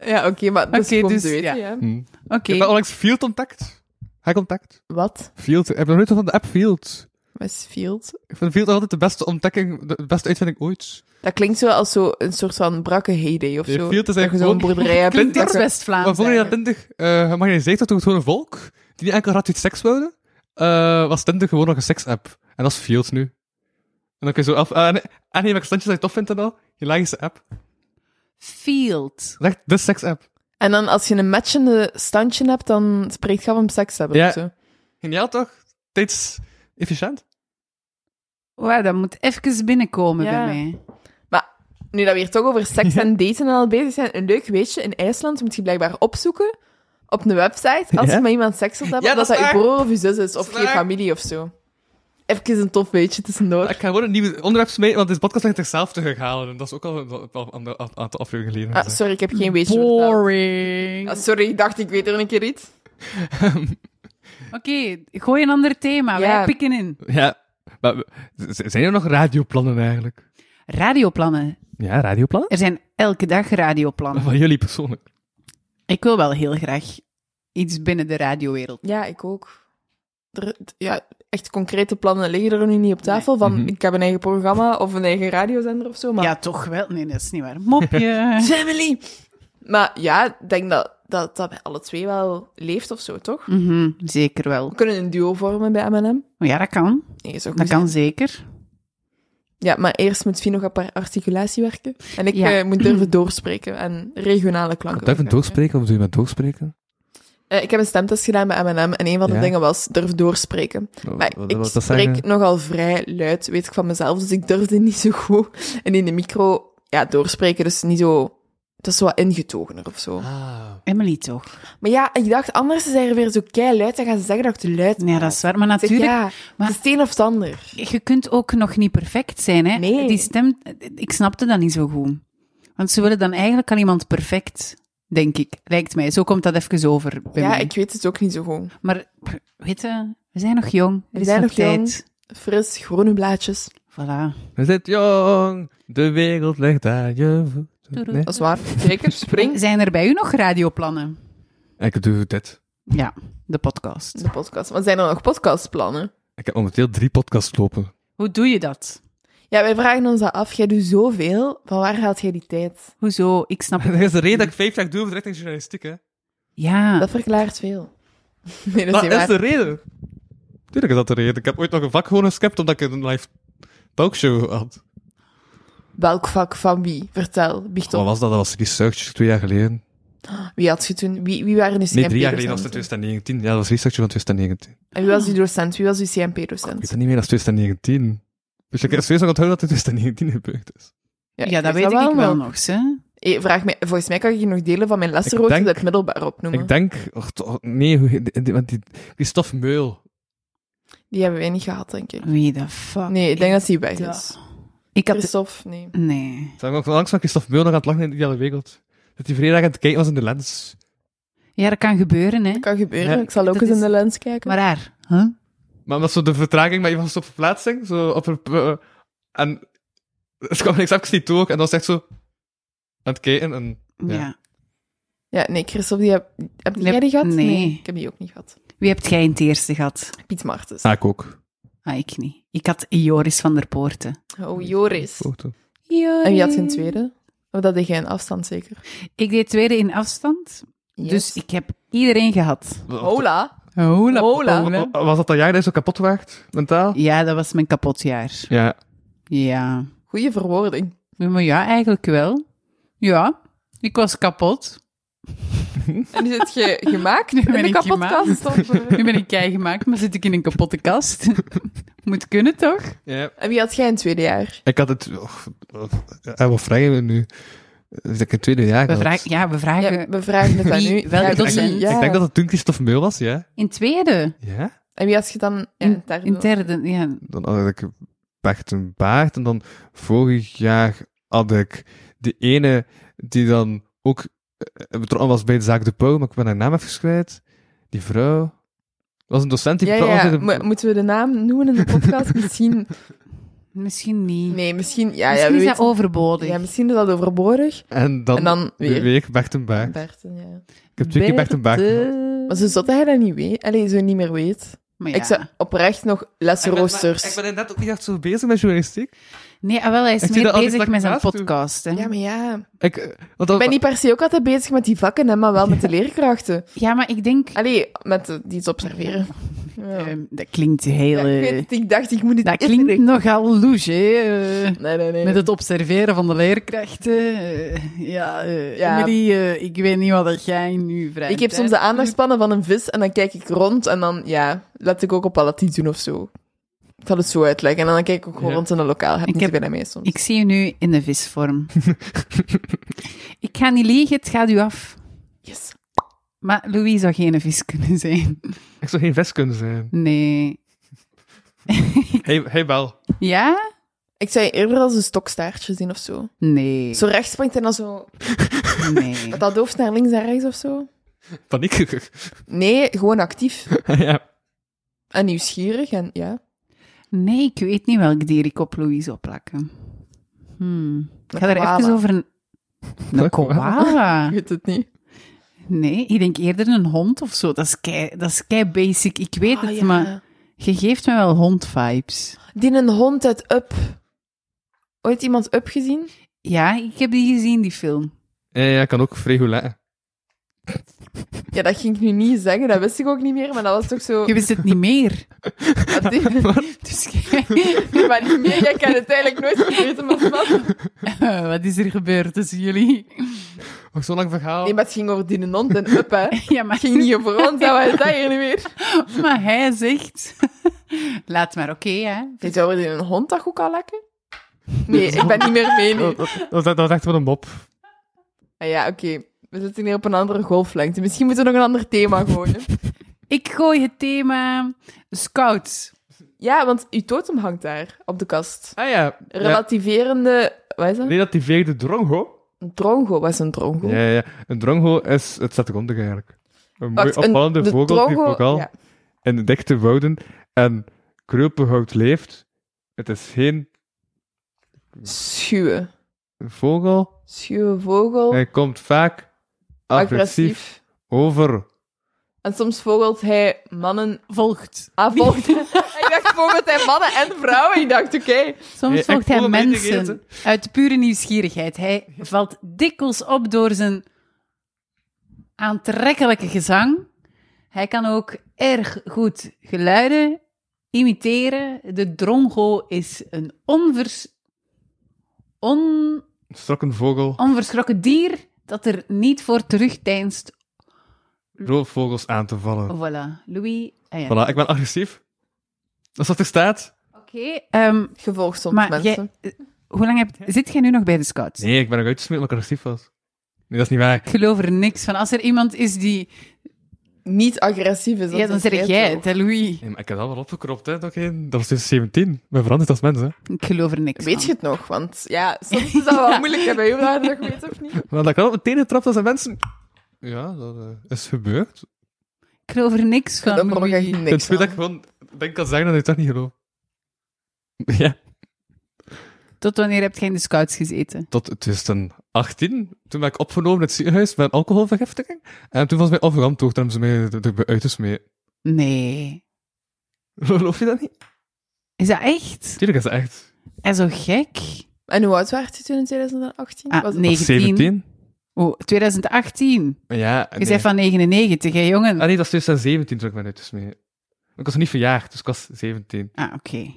Speaker 5: Ja, oké, maar dat
Speaker 3: Oké,
Speaker 5: is gewoon
Speaker 3: dus,
Speaker 5: te weten,
Speaker 3: ja.
Speaker 5: ja.
Speaker 4: Hm. Ik
Speaker 3: Oké.
Speaker 4: heb wel onlangs Field contact. Hij contact.
Speaker 5: Wat?
Speaker 4: Field. Ik heb nog nooit van de app Field.
Speaker 5: Wat is Field?
Speaker 4: Ik vind Field altijd de beste ontdekking, de beste uitvinding ooit.
Speaker 5: Dat klinkt zo als zo een soort van brakke heyday of
Speaker 4: Nee,
Speaker 5: zo.
Speaker 4: Field is
Speaker 5: Dat je
Speaker 4: eigenlijk
Speaker 5: zo'n
Speaker 4: gewoon-
Speaker 5: boerderij hebt.
Speaker 4: Klinkt
Speaker 3: Dit is
Speaker 5: dat je-
Speaker 4: Maar
Speaker 3: West-Vlaams.
Speaker 4: voor je dat
Speaker 3: eigenlijk.
Speaker 4: Tindig eh gemagneerd tot het gewoon een volk, die niet enkel gratuit seks wilde, eh, was Tindig gewoon nog een seksapp. En dat is Field nu. En dan kun je zo af... eh, en- en je maakt standjes dat je tof vindt en al. Je laagste app.
Speaker 3: Field.
Speaker 4: Dat is echt de seksapp.
Speaker 5: En dan als je een matchende standje hebt, dan spreekt je af om seks te hebben
Speaker 4: Ja.
Speaker 5: of zo.
Speaker 4: Geniaal toch? Steeds efficiënt.
Speaker 3: Wauw, dat moet even binnenkomen
Speaker 5: Ja.
Speaker 3: bij mij.
Speaker 5: Maar nu dat we hier toch over seks en daten en al bezig zijn, een leuk weetje, in IJsland moet je blijkbaar opzoeken op een website, als
Speaker 4: Ja?
Speaker 5: je met iemand seks wilt hebben,
Speaker 4: Ja,
Speaker 5: dat
Speaker 4: dat
Speaker 5: dat
Speaker 4: is
Speaker 5: je
Speaker 4: waar.
Speaker 5: broer of je zus is, of
Speaker 4: is
Speaker 5: je
Speaker 4: waar.
Speaker 5: familie of zo. Even een tof weetje tussendoor.
Speaker 4: Ik ga gewoon een nieuw onderwerp smijten, want deze podcast ligt zichzelf te herhalen. En dat is ook al een al- al- een aantal afleveringen geleden.
Speaker 5: Ah, sorry, ik heb geen weetje verteld.
Speaker 3: Boring.
Speaker 5: Ah, sorry, ik dacht, ik weet er een keer iets.
Speaker 3: Oké, gooi een ander thema.
Speaker 5: Ja.
Speaker 3: Wij pikken in.
Speaker 4: Ja. Maar we- z- zijn er nog radioplannen eigenlijk?
Speaker 3: Radioplannen.
Speaker 4: Ja, radioplannen?
Speaker 3: Er zijn elke dag radioplannen.
Speaker 4: Van jullie persoonlijk.
Speaker 3: Ik wil wel heel graag iets binnen de radiowereld.
Speaker 5: Ja, ik ook. Er- ja, echt concrete plannen liggen er nu niet op tafel, van
Speaker 4: Mhm.
Speaker 5: ik heb een eigen programma of een eigen radiozender of zo, maar...
Speaker 3: Ja, toch wel? Nee, dat is niet waar. Mopje.
Speaker 5: Family! Maar ja, ik denk dat dat, dat bij alle twee wel leeft of zo, toch?
Speaker 3: Mhm, zeker wel.
Speaker 5: We kunnen een duo vormen bij M&M.
Speaker 3: Ja, dat kan.
Speaker 5: Nee, zo
Speaker 3: Dat kan zeker.
Speaker 5: Ja, maar eerst moet Fien nog een paar articulatie werken. En ik
Speaker 3: Ja.
Speaker 5: eh, moet durven doorspreken en regionale klanken.
Speaker 4: Durf je
Speaker 5: gebruiken.
Speaker 4: doorspreken of doe je met doorspreken?
Speaker 5: Eh, ik heb een stemtest gedaan bij M&M en een van de
Speaker 4: Ja.
Speaker 5: dingen was durf doorspreken. Maar ik spreek nogal vrij luid, weet ik van mezelf, dus ik durfde niet zo goed. En in de micro, ja, doorspreken, dus niet zo... Het is wat ingetogener of zo.
Speaker 4: Ah.
Speaker 3: Emily toch?
Speaker 5: Maar ja, ik dacht, anders is hij er weer zo kei luid, dan gaan ze zeggen dat ik te luid ben.
Speaker 3: Ja, dat is waar. Maar
Speaker 5: Ik zeg,
Speaker 3: natuurlijk,
Speaker 5: ja,
Speaker 3: maar-
Speaker 5: het is het een of het ander.
Speaker 3: je kunt ook nog niet perfect zijn. Hè?
Speaker 5: Nee.
Speaker 3: Die stem, ik snapte dat niet zo goed. Want ze willen dan eigenlijk al iemand perfect, denk ik. Lijkt mij. Zo komt dat even over bij
Speaker 5: Ja,
Speaker 3: mij.
Speaker 5: ik weet het ook niet zo goed.
Speaker 3: Maar pff, weet je, we zijn nog jong. Er
Speaker 5: We
Speaker 3: is
Speaker 5: zijn nog jong.
Speaker 3: tijd.
Speaker 5: Fris, groene blaadjes.
Speaker 3: Voilà.
Speaker 4: We zijn jong, de wereld ligt aan je voeten. Nee?
Speaker 5: Dat is waar. Zeker, spring.
Speaker 3: Zijn er bij u nog radioplannen?
Speaker 4: Ik doe dit.
Speaker 3: Ja, de podcast.
Speaker 5: De podcast. Maar zijn er nog podcastplannen?
Speaker 4: Ik heb momenteel drie podcasts lopen.
Speaker 3: Hoe doe je dat?
Speaker 5: Ja, wij vragen ons dat af. Jij doet zoveel. Van waar haalt jij die tijd?
Speaker 3: Hoezo? Ik snap
Speaker 4: Dat
Speaker 3: het.
Speaker 4: is de reden dat ik vijf jaar doe over de richting journalistiek, hè.
Speaker 3: Ja.
Speaker 5: Dat verklaart veel. Nee, dat is
Speaker 4: Ah, Dat
Speaker 5: niet
Speaker 4: is
Speaker 5: waar.
Speaker 4: de reden. Tuurlijk is dat de reden. Ik heb ooit nog een vak gewoon geskipt omdat ik een live talkshow had.
Speaker 5: Welk vak van wie? Vertel, biecht
Speaker 4: Wat
Speaker 5: op.
Speaker 4: was dat? Dat was research twee jaar geleden.
Speaker 5: Wie had je toen? Wie, wie waren de
Speaker 4: Nee, drie jaar geleden was het
Speaker 5: CMP-docenten?
Speaker 4: 2019. Ja, dat was research van 2019.
Speaker 5: En wie was die docent? Wie was uw
Speaker 4: Ik weet
Speaker 5: CMP-docent?
Speaker 4: het niet meer, dat is 2019. Dus ik heb steeds nog onthouden dat het 2019 gebeurd is.
Speaker 3: Ja, dat weet ik wel, nog. Hè?
Speaker 5: Eh, vraag mij, volgens mij kan ik je nog delen van mijn lessenrood
Speaker 4: denk-
Speaker 5: dat het middelbaar opnoemen.
Speaker 4: Ik denk... och, toch, nee, hoe- die- die- want die, die stof Meul.
Speaker 5: Die hebben wij niet gehad, denk ik.
Speaker 3: Wie de fuck?
Speaker 5: Nee, ik denk dat die weg
Speaker 3: Ja.
Speaker 5: is.
Speaker 3: Ik had...
Speaker 5: Christophe, nee.
Speaker 3: Nee.
Speaker 4: Zijn we ook langs van Christophe Meul nog aan het lachen in de ideale wereld? Dat die vrijdag aan het kijken was in de lens.
Speaker 3: Ja, dat kan gebeuren, hè.
Speaker 5: Kan gebeuren.
Speaker 4: Ja,
Speaker 5: ik zal ook
Speaker 3: dat
Speaker 5: eens in
Speaker 3: is-
Speaker 5: de lens kijken.
Speaker 3: Maar raar. Huh?
Speaker 4: Maar omdat zo de vertraging bij iemand was op verplaatsing, zo op een... eh, en het kwam niks even niet toe ook, en dan was het echt zo... Aan het kijken en...
Speaker 3: Ja.
Speaker 4: Ja.
Speaker 5: Ja, nee, Christophe, die heb, heb
Speaker 3: Nee,
Speaker 5: jij die gehad?
Speaker 3: nee.
Speaker 5: Ik heb die ook niet gehad.
Speaker 3: Wie hebt jij in het eerste gehad?
Speaker 5: Piet Martens.
Speaker 4: Ah, ik ook.
Speaker 3: Ah, ik niet. Ik had Joris van der Poorten.
Speaker 5: Oh, Joris.
Speaker 4: Foto.
Speaker 5: En wie had geen tweede? Of dat deed jij in afstand zeker?
Speaker 3: Ik deed tweede in afstand, dus ik heb iedereen gehad.
Speaker 5: Hola.
Speaker 3: Hola.
Speaker 5: Hola.
Speaker 4: Wa- wa- Was dat dat jaar dat je zo kapot werd, mentaal?
Speaker 3: Ja, dat was mijn kapotjaar.
Speaker 4: Ja.
Speaker 3: Ja.
Speaker 5: Goeie verwoording.
Speaker 3: Ja, Maar ja, eigenlijk wel. Ja, ik was kapot.
Speaker 5: En is het ge gemaakt
Speaker 3: Nu ben
Speaker 5: in de
Speaker 3: ik
Speaker 5: kapotkast? of, eh?
Speaker 3: Nu ben ik kei gemaakt, maar zit ik in een kapotte kast. Moet kunnen, toch?
Speaker 4: ja.
Speaker 5: En wie had jij in het tweede jaar?
Speaker 4: Ik had het... och, och, en wat vragen we nu? Is dat ik een tweede jaar
Speaker 3: We
Speaker 4: had?
Speaker 3: vragen, ja, we
Speaker 5: Ja,
Speaker 3: vragen
Speaker 5: we vragen het aan
Speaker 3: Wie?
Speaker 5: nu.
Speaker 3: Welke
Speaker 5: Ja, wie?
Speaker 3: docent?
Speaker 5: Ja.
Speaker 4: Ik denk dat het toen Christophe Meul was, ja?
Speaker 3: in tweede.
Speaker 4: Ja?
Speaker 5: En wie had je dan in
Speaker 3: In,
Speaker 5: het derde?
Speaker 3: in derde, ja.
Speaker 4: Dan had ik Bert een baard. En dan vorig jaar had ik de ene die dan ook eh, betrokken was bij de zaak De Pauw, maar ik ben haar naam even kwijt. Die vrouw... Dat was een docent die
Speaker 5: ja,
Speaker 4: betrokken
Speaker 5: ja.
Speaker 4: was bij de-
Speaker 5: Mo- moeten we de naam noemen in de podcast? misschien...
Speaker 3: Misschien niet.
Speaker 5: Nee, misschien... Ja, ja,
Speaker 3: Misschien
Speaker 5: we
Speaker 3: is dat
Speaker 5: weten-
Speaker 3: overbodig.
Speaker 5: ja, misschien is dat overbodig.
Speaker 4: En dan,
Speaker 5: En dan
Speaker 4: weer.
Speaker 5: weer.
Speaker 4: Bert en Baar.
Speaker 5: Berten, ja.
Speaker 4: Ik heb twee keer Bert en Baar gehad.
Speaker 5: Maar zo zat dat hij dat niet weet. Allee, zo niet meer weet.
Speaker 3: Maar ja.
Speaker 5: Ik zou oprecht nog lesroosters.
Speaker 4: Ik ben inderdaad ook niet echt zo bezig met journalistiek.
Speaker 3: Nee, ah, wel, hij is
Speaker 4: Ik zie
Speaker 3: meer
Speaker 4: dat altijd
Speaker 3: bezig
Speaker 4: dat
Speaker 3: met
Speaker 4: ik
Speaker 3: zijn
Speaker 4: naast doe.
Speaker 3: podcast. Hè.
Speaker 5: Ja, maar ja.
Speaker 4: Ik, eh, want dat,
Speaker 5: Ik ben niet per se ook altijd bezig met die vakken, hè, maar wel met de leerkrachten.
Speaker 3: Ja, maar ik denk...
Speaker 5: Allee, met eh, die iets observeren. Ja.
Speaker 3: ehm, dat klinkt heel...
Speaker 5: Ja, ik,
Speaker 3: eh,
Speaker 5: weet het, ik dacht, ik moet dit
Speaker 3: dat
Speaker 5: eerst
Speaker 3: klinkt
Speaker 5: zeggen.
Speaker 3: nogal louche, hè, eh.
Speaker 5: Nee, nee, nee.
Speaker 3: Met het observeren van de leerkrachten. eh, ja, eh
Speaker 5: Ja.
Speaker 3: Emily, eh, ik weet niet wat dat jij nu vraagt.
Speaker 5: Ik heb soms de aandachtspannen van een vis en dan kijk ik rond en dan, ja, let ik ook op Palatine doen of zo. Ik zal het zo uitleggen. En dan kijk ik ook gewoon
Speaker 4: Ja.
Speaker 5: rond in een lokaal. Heb
Speaker 3: Ik
Speaker 5: ik
Speaker 3: heb-
Speaker 5: heb bijna mee soms.
Speaker 3: Ik zie je nu in de visvorm. ik ga niet liegen, het gaat u af.
Speaker 5: Yes.
Speaker 3: Maar Louis zou geen vis kunnen zijn.
Speaker 4: ik zou geen vest kunnen zijn.
Speaker 3: Nee.
Speaker 4: Hey, hey Bel.
Speaker 3: Ja?
Speaker 5: Ik zou je eerder als een stokstaartje zien of zo.
Speaker 3: Nee.
Speaker 5: Zo rechts springt en dan zo...
Speaker 3: Nee.
Speaker 5: Dat dat hoofd naar links en rechts of zo.
Speaker 4: Paniek.
Speaker 5: Nee, gewoon actief.
Speaker 4: ja.
Speaker 5: En nieuwsgierig en ja.
Speaker 3: Nee, ik weet niet welk dier ik op Louis zou plakken. Hmm. Ik ga
Speaker 5: Een
Speaker 3: er even
Speaker 5: koala.
Speaker 3: over een... Een
Speaker 4: Een koala?
Speaker 5: Ik
Speaker 3: koala?
Speaker 5: weet het niet.
Speaker 3: Nee, ik denk eerder een hond of zo. Dat is kei, dat is kei basic. Ik
Speaker 5: Ah,
Speaker 3: weet het, maar... Je geeft mij wel hond-vibes.
Speaker 5: Die een hond uit Up. Ooit iemand Up gezien?
Speaker 3: Ja, ik heb die gezien, die film.
Speaker 4: Ja, ja, kan ook Fregola.
Speaker 5: Ja, dat ging ik nu niet zeggen, dat wist ik ook niet meer, maar dat was toch zo...
Speaker 3: Je wist het niet meer.
Speaker 5: Dat die-
Speaker 3: Dus jij-
Speaker 5: Nee, maar niet meer, jij kan het eigenlijk nooit vergeten, maar wat?
Speaker 3: wat is er gebeurd tussen jullie?
Speaker 4: Nog zo'n lang verhaal.
Speaker 5: Nee, maar het ging over die hond en Up, hè.
Speaker 3: Ja,
Speaker 5: Het
Speaker 3: maar,
Speaker 5: ging niet over ons, dat was het hier niet meer.
Speaker 3: maar hij zegt... Laat maar, oké, hè.
Speaker 5: Dit over die een hond dat goed kan lekken? Nee, ik ben niet meer mee, nee.
Speaker 4: Dat, dat, Oh, dat, dat was echt wel een mop.
Speaker 5: Ah ja, oké. We zitten hier op een andere golflengte. Misschien moeten we nog een ander thema gooien.
Speaker 3: Ik gooi het thema scouts.
Speaker 5: Ja, want uw totem hangt daar, op de kast.
Speaker 4: Ah ja. ja.
Speaker 5: Relativerende... Wat is dat?
Speaker 4: Relativeerde drongo.
Speaker 5: Een drongo, wat is een drongo?
Speaker 4: Ja, ja. Een drongo is het zettegondige eigenlijk. Een mooi
Speaker 5: Wacht, een-
Speaker 4: opvallende
Speaker 5: de
Speaker 4: vogel die
Speaker 5: drongo-
Speaker 4: vocaal
Speaker 5: ja.
Speaker 4: in de dichte wouden en kreupelhout leeft. Het is geen
Speaker 5: Schuwe.
Speaker 4: vogel.
Speaker 5: Schuwe vogel.
Speaker 4: Hij komt vaak agressief
Speaker 5: agressief.
Speaker 4: over.
Speaker 5: En soms vogelt hij mannen.
Speaker 3: Volgt.
Speaker 5: Ah, volgt. ik dacht, vogelt hij mannen en vrouwen? Ik dacht, oké.
Speaker 3: Soms
Speaker 4: Ja, ik
Speaker 3: volgt
Speaker 4: voel
Speaker 3: hij
Speaker 4: hem ingegeven.
Speaker 3: mensen uit pure nieuwsgierigheid. Hij valt dikwijls op door zijn aantrekkelijke gezang. Hij kan ook erg goed geluiden imiteren. De drongo is een onvers, on,
Speaker 4: Strokken vogel.
Speaker 3: onverschrokken dier dat er niet voor terugdeinst.
Speaker 4: roofvogels aan te
Speaker 5: Oh,
Speaker 4: vallen.
Speaker 3: Voilà, Louis. ah ja.
Speaker 4: Voilà, ik ben agressief. Dat is wat er staat?
Speaker 3: Oké, ehm,
Speaker 5: Gevolg soms,
Speaker 3: maar
Speaker 5: mensen.
Speaker 3: jij, eh, hoe lang heb, zit jij nu nog bij de scouts?
Speaker 4: Nee, ik ben ook uitgesmeerd omdat ik agressief was. Nee, dat is niet waar.
Speaker 3: Ik geloof er niks van. Als er iemand is die
Speaker 5: Niet agressief is. dat
Speaker 3: Ja, dan
Speaker 5: is
Speaker 3: zeg jij
Speaker 5: zo.
Speaker 3: het, hè, Louis.
Speaker 4: Nee, maar ik heb dat wel opgekropt, hè. Toch in... Dat was dus 17. Ik ben veranderd als mens, hè.
Speaker 3: Ik geloof er niks
Speaker 5: Weet
Speaker 3: van.
Speaker 5: je het nog? Want ja, soms is dat wel
Speaker 3: Ja.
Speaker 5: moeilijk. Heb je heel raar dat je weet of niet?
Speaker 4: Maar dat ik wel meteen getrapt als mensen... Ja, dat eh, is gebeurd.
Speaker 3: Ik geloof er niks van,
Speaker 5: Dan mag
Speaker 3: Louis.
Speaker 5: ik
Speaker 4: Het
Speaker 5: niks
Speaker 4: is goed dat ik
Speaker 5: van.
Speaker 4: gewoon... Dat ik kan zeggen dat ik dat niet geloof. Ja.
Speaker 3: Tot wanneer heb jij in de scouts gezeten?
Speaker 4: Tot 2018, toen ben ik opgenomen in het ziekenhuis met een alcoholvergiftiging. En toen was mij afgerand, toen hebben ze mij eruit gesmeed.
Speaker 3: Nee.
Speaker 4: Geloof je dat niet?
Speaker 3: Is dat echt?
Speaker 4: Tuurlijk is dat echt.
Speaker 3: En zo gek?
Speaker 5: En hoe oud werd je toen in 2018?
Speaker 3: Ah,
Speaker 5: Was het-
Speaker 3: 19.
Speaker 4: 17?
Speaker 3: Oh, 2018.
Speaker 4: Ja.
Speaker 3: Je bent van 99, hè, jongen?
Speaker 4: Ah nee, dat is 2017 toen ik mijn uitjes mee. Ik was nog niet verjaagd, dus ik was 17.
Speaker 3: Ah, oké.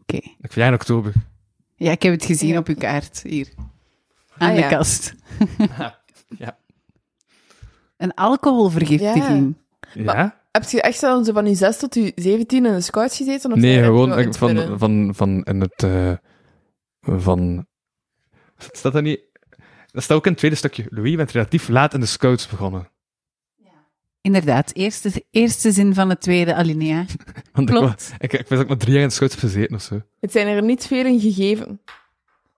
Speaker 3: Oké.
Speaker 4: Ik verjaar in oktober.
Speaker 3: Ja, ik heb het gezien
Speaker 5: Ja.
Speaker 3: op uw kaart, hier. Aan
Speaker 5: Ah,
Speaker 3: de
Speaker 5: ja.
Speaker 3: kast.
Speaker 4: Ja.
Speaker 3: Een alcoholvergiftiging.
Speaker 4: Ja?
Speaker 5: Heb je echt dan zo van je 6 tot je 17 in de scouts gezeten? Of
Speaker 4: Nee,
Speaker 5: heb je wel
Speaker 4: gewoon
Speaker 5: in
Speaker 4: ik-
Speaker 5: het
Speaker 4: van,
Speaker 5: midden?
Speaker 4: van, van in het... eh van... Staat dat niet... Dat staat ook in het tweede stukje. Louis, je bent relatief laat in de scouts begonnen.
Speaker 3: Inderdaad, eerste, eerste zin van het tweede alinea.
Speaker 4: Want ik
Speaker 3: Klopt.
Speaker 4: wa- Ik, ik, was ook maar drie jaar in de scouts heb gezeten of zo.
Speaker 5: Het zijn er niet veel in gegeven.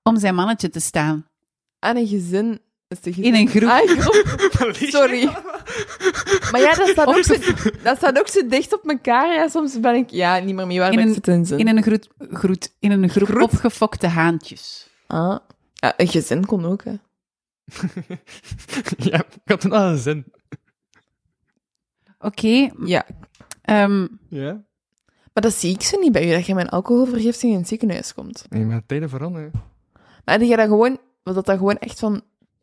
Speaker 3: Om zijn mannetje te staan.
Speaker 5: Aan een gezin is de gezin.
Speaker 3: In een groep.
Speaker 5: Ah, een groep. Sorry. Maar ja, dat staat,
Speaker 3: Op
Speaker 5: ook zo,
Speaker 3: de-
Speaker 5: dat staat ook zo dicht op elkaar. Ja, soms ben ik ja, niet meer mee waar
Speaker 3: In
Speaker 5: ik
Speaker 3: een-
Speaker 5: zit in zin.
Speaker 3: In een groet, groet, in een groep opgefokte haantjes.
Speaker 5: Ah. Ja, een gezin kon ook, hè.
Speaker 4: ja, ik had een andere zin.
Speaker 3: Oké,
Speaker 5: Ja.
Speaker 3: ehm,
Speaker 4: Ja?
Speaker 5: Maar dat zie ik zo niet bij u, dat je met een alcoholvergiftiging in het ziekenhuis komt.
Speaker 4: Nee, maar tijden veranderen.
Speaker 5: Maar heb je dat gewoon... Was dat dan gewoon echt van...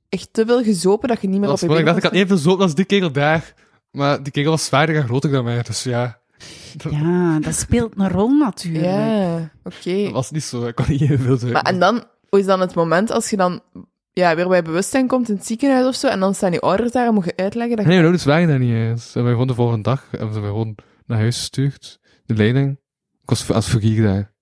Speaker 5: Echt te veel gezopen dat je niet meer
Speaker 4: Dat was
Speaker 5: op je
Speaker 4: gewoon- ik dacht, ik had
Speaker 5: benen
Speaker 4: even zo als die kerel daar. Maar die kerel was zwaarder en groter dan mij, dus ja.
Speaker 3: ja, dat speelt een rol
Speaker 5: kon
Speaker 3: natuurlijk.
Speaker 5: staan? Ja, oké.
Speaker 4: Dat was niet zo. Ik kon niet heel veel zeggen.
Speaker 5: Maar en dan, hoe is dan het moment als je dan ja, weer bij bewustzijn komt in het ziekenhuis of zo, en dan staan die ouders daar en moet je uitleggen dat
Speaker 4: Nee,
Speaker 5: je...
Speaker 4: mijn ouders waren daar niet eens. Ze hebben mij gewoon de volgende dag hebben ze mij gewoon naar huis gestuurd. De leiding. Ik was als vergier daar.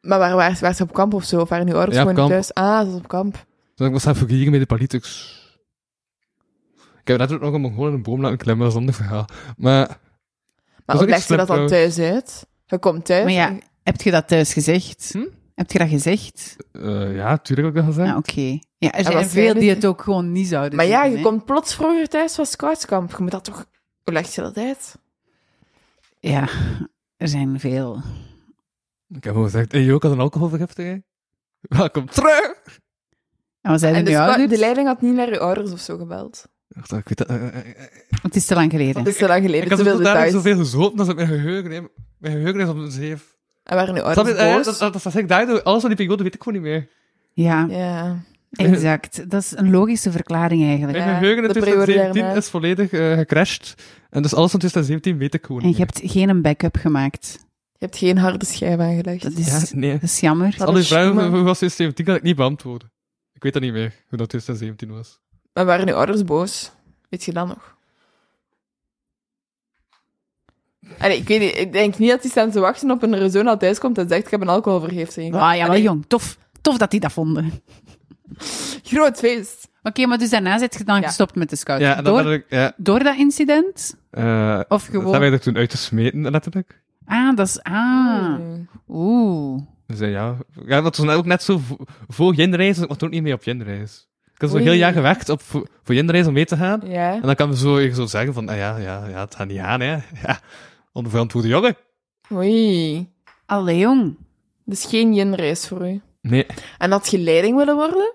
Speaker 5: Maar waar, waar, waar ze op kamp of zo? Of waren die ouders
Speaker 4: Ja, op
Speaker 5: gewoon niet
Speaker 4: kamp.
Speaker 5: thuis? Ah, ze was op kamp.
Speaker 4: Dus ik was aan vergieren met de palitics. Ik heb net ook nog een Mongool in een boom laten klimmen, dat is een ander verhaal. Maar
Speaker 5: Maar
Speaker 4: ook
Speaker 5: hoe
Speaker 4: niet
Speaker 5: legt je
Speaker 4: slim
Speaker 5: dat dan thuis uit? Je komt thuis...
Speaker 3: Maar ja, dus
Speaker 5: en-
Speaker 3: heb je dat thuis gezegd?
Speaker 4: Hm?
Speaker 3: Heb je dat gezegd?
Speaker 4: eh, ja, tuurlijk heb ik dat gezegd.
Speaker 3: Ah, oké. Ja, er zijn veel
Speaker 5: waarschijnlijk-
Speaker 3: die het ook gewoon niet zouden
Speaker 5: maar ja,
Speaker 3: zeggen,
Speaker 5: je
Speaker 3: hè.
Speaker 5: komt plots vroeger thuis van scoutskamp. Je moet dat toch... Hoe leg je dat uit?
Speaker 3: Ja, er zijn veel.
Speaker 4: Ik heb gewoon gezegd, hey, joh, ik had een alcoholvergiftiging. Welkom terug!
Speaker 3: En wat
Speaker 5: En
Speaker 3: zeiden
Speaker 5: de,
Speaker 3: nu
Speaker 5: scou-
Speaker 3: ouders?
Speaker 5: de leiding had niet naar je ouders of zo gebeld.
Speaker 4: Ik dacht, ik weet dat... eh, eh, eh, eh.
Speaker 3: Het is te lang geleden.
Speaker 5: Dat is te lang
Speaker 4: Ik
Speaker 5: geleden,
Speaker 4: had
Speaker 5: te
Speaker 4: zo
Speaker 5: veel
Speaker 4: dadelijk
Speaker 5: details.
Speaker 4: zoveel gezopen, dat is mijn geheugen... hè. Mijn geheugen is op een zeef.
Speaker 5: En waren je
Speaker 4: Snap je?
Speaker 5: ouders
Speaker 4: Eh,
Speaker 5: boos?
Speaker 4: Dat dat- dat zeg ik daardoor. Alles van die periode weet ik gewoon niet meer.
Speaker 3: Ja,
Speaker 5: Ja.
Speaker 3: exact. Dat is een logische verklaring eigenlijk.
Speaker 4: Mijn
Speaker 5: Ja,
Speaker 4: geheugen in
Speaker 5: de periode
Speaker 4: 2017
Speaker 5: daarna.
Speaker 4: is volledig eh, gecrashed. En dus alles van 2017 weet ik gewoon
Speaker 3: En je
Speaker 4: niet
Speaker 3: hebt geen een backup gemaakt.
Speaker 5: Je hebt geen harde schijf aangelegd.
Speaker 3: Dat
Speaker 4: meer.
Speaker 3: is,
Speaker 4: Ja, nee.
Speaker 3: dat is jammer.
Speaker 5: Dat
Speaker 4: Al die
Speaker 5: is
Speaker 4: vragen
Speaker 5: jammer.
Speaker 4: hoe hoe was 2017 kan ik niet beantwoorden. Ik weet dat niet meer, hoe dat 2017 was.
Speaker 5: Maar waren uw ouders boos? Weet je dat nog? Allee, ik weet niet, ik denk niet dat hij staan te wachten op een Arizona thuis komt en zegt, ik heb een alcoholvergiftiging.
Speaker 3: Ah, ja, wel
Speaker 5: Allee,
Speaker 3: jong. Tof. Tof dat die dat vonden. Oké,
Speaker 5: Groot feest.
Speaker 3: maar dus daarna zit je dan
Speaker 5: Ja.
Speaker 3: gestopt met de scout.
Speaker 4: Ja, en dan
Speaker 3: door,
Speaker 4: had ik... Ja,
Speaker 3: door dat incident?
Speaker 4: eh
Speaker 3: Of
Speaker 4: dat
Speaker 3: gewoon...
Speaker 4: hebben we er toen uit te smeten, letterlijk.
Speaker 3: Ah, dat is... Ah.
Speaker 5: Hmm.
Speaker 3: Oeh.
Speaker 4: Dus eh, ja, ja, dat was ook net zo vo- voor Jinreis, dus ik was toen ook niet mee op Jinreis. Ik had zo'n
Speaker 5: Oei.
Speaker 4: heel jaar gewerkt op, voor voor Jinreis om mee te gaan.
Speaker 5: Ja.
Speaker 4: En dan kan we zo, je zo zeggen van, ah, ja, ja, ja, het gaat niet aan, hè. Ja, onverantwoorde jongen.
Speaker 5: Oei.
Speaker 3: Allee, jong.
Speaker 5: Dus geen yin-race voor u.
Speaker 4: Nee,
Speaker 5: En had je leiding willen worden?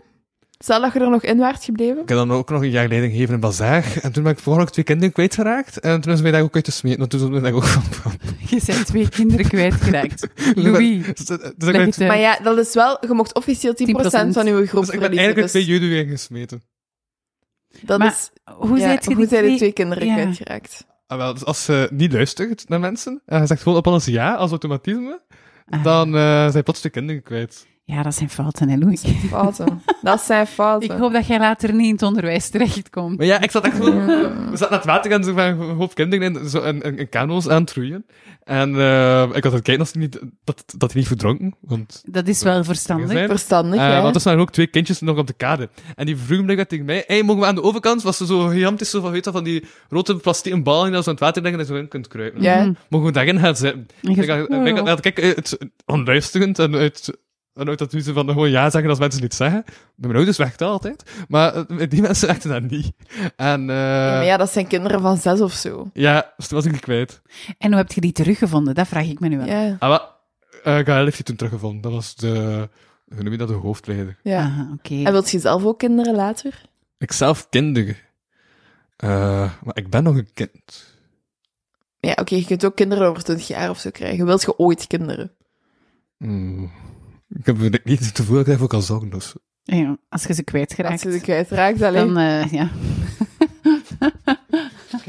Speaker 5: Stel dat je er nog in waart gebleven?
Speaker 4: Ik heb dan ook nog een jaar leiding gegeven in Bazaar. En toen ben ik vooral ook twee kinderen kwijtgeraakt. En toen is mij daar ook uit te smeten. En toen is mij daar ook van. van-
Speaker 3: Je bent twee kinderen kwijtgeraakt. Louis.
Speaker 4: Dus, dat- dus ik
Speaker 3: leg
Speaker 4: ben-
Speaker 3: het uit.
Speaker 5: Maar ja, dat is wel... Je mocht officieel 10%,
Speaker 3: 10%.
Speaker 5: van
Speaker 4: dus
Speaker 5: uw groep
Speaker 4: ik ben
Speaker 5: verliezen.
Speaker 4: eigenlijk uit
Speaker 5: Dus
Speaker 4: twee judo weer gesmeten.
Speaker 5: dat
Speaker 3: Maar
Speaker 5: is...
Speaker 3: Hoe
Speaker 5: ja,
Speaker 3: zijt je
Speaker 5: hoe
Speaker 3: die
Speaker 5: zijn de
Speaker 3: twee...
Speaker 5: twee kinderen
Speaker 3: ja.
Speaker 5: kwijtgeraakt?
Speaker 4: Ah, wel, dus als ze niet luistert naar mensen, en ze zegt gewoon op alles ja, als automatisme,
Speaker 5: Ah.
Speaker 4: dan eh zijn plots twee kinderen kwijt.
Speaker 3: Ja, dat zijn fouten, hè, Louis.
Speaker 5: Fouten. Dat zijn fouten.
Speaker 3: Ik hoop dat jij later niet in het onderwijs terechtkomt.
Speaker 4: Maar ja, ik zat echt gewoon...
Speaker 5: Hmm.
Speaker 4: We zaten naar het water en zo van een hoop kinderen in, zo in, in, in kano's aan het roeien. En eh, ik had het kijken als die niet, dat, dat die niet verdronken, want...
Speaker 3: Dat is wel verstandig.
Speaker 4: zijn.
Speaker 5: Verstandig,
Speaker 4: Eh,
Speaker 5: hè?
Speaker 4: want er staan ook twee kindjes nog op de kade. En die vroegen blijkbaar tegen mij, hey, mogen we aan de overkant, was er zo gigantisch zo van, weet je, wel, van die rode plastieken bal die dan zo in het water liggen en zo in kunt kruipen.
Speaker 5: Ja.
Speaker 3: Mm.
Speaker 4: Mogen we daarin gaan zitten?
Speaker 3: En je
Speaker 4: Ik dacht, ik
Speaker 3: Oh.
Speaker 4: dacht, dat- kijk, eh, het onluisterend en uit, en uit dat ze van gewoon ja zeggen als mensen niet zeggen. Bij mijn ouders werkt dat altijd. Maar eh, met die mensen werkte dat niet. En, eh,
Speaker 5: Ja, maar
Speaker 4: ja.
Speaker 5: ja, dat zijn kinderen van zes of zo.
Speaker 4: dus toen was ik die kwijt.
Speaker 3: "Oh." En hoe heb je die teruggevonden? Dat vraag ik me nu wel.
Speaker 5: Ja,
Speaker 4: Ah, maar, eh Gael heeft die toen teruggevonden. Dat was de, hoe noem je dat, de hoofdleider.
Speaker 5: ja.
Speaker 3: Ah, oké.
Speaker 5: En wilt je zelf ook kinderen later?
Speaker 4: Ikzelf kinderen. Eh, maar ik ben nog een kind.
Speaker 5: Ja, oké, je kunt ook kinderen over 20 jaar of zo krijgen. Wilt je ooit kinderen?
Speaker 4: Mm. Ik heb het niet het gevoel dat ik dat ook al zong, dus...
Speaker 3: Ja, als je ze
Speaker 5: Als
Speaker 3: kwijtgeraakt,
Speaker 5: je ze kwijtraakt alleen.
Speaker 3: dan eh, ja.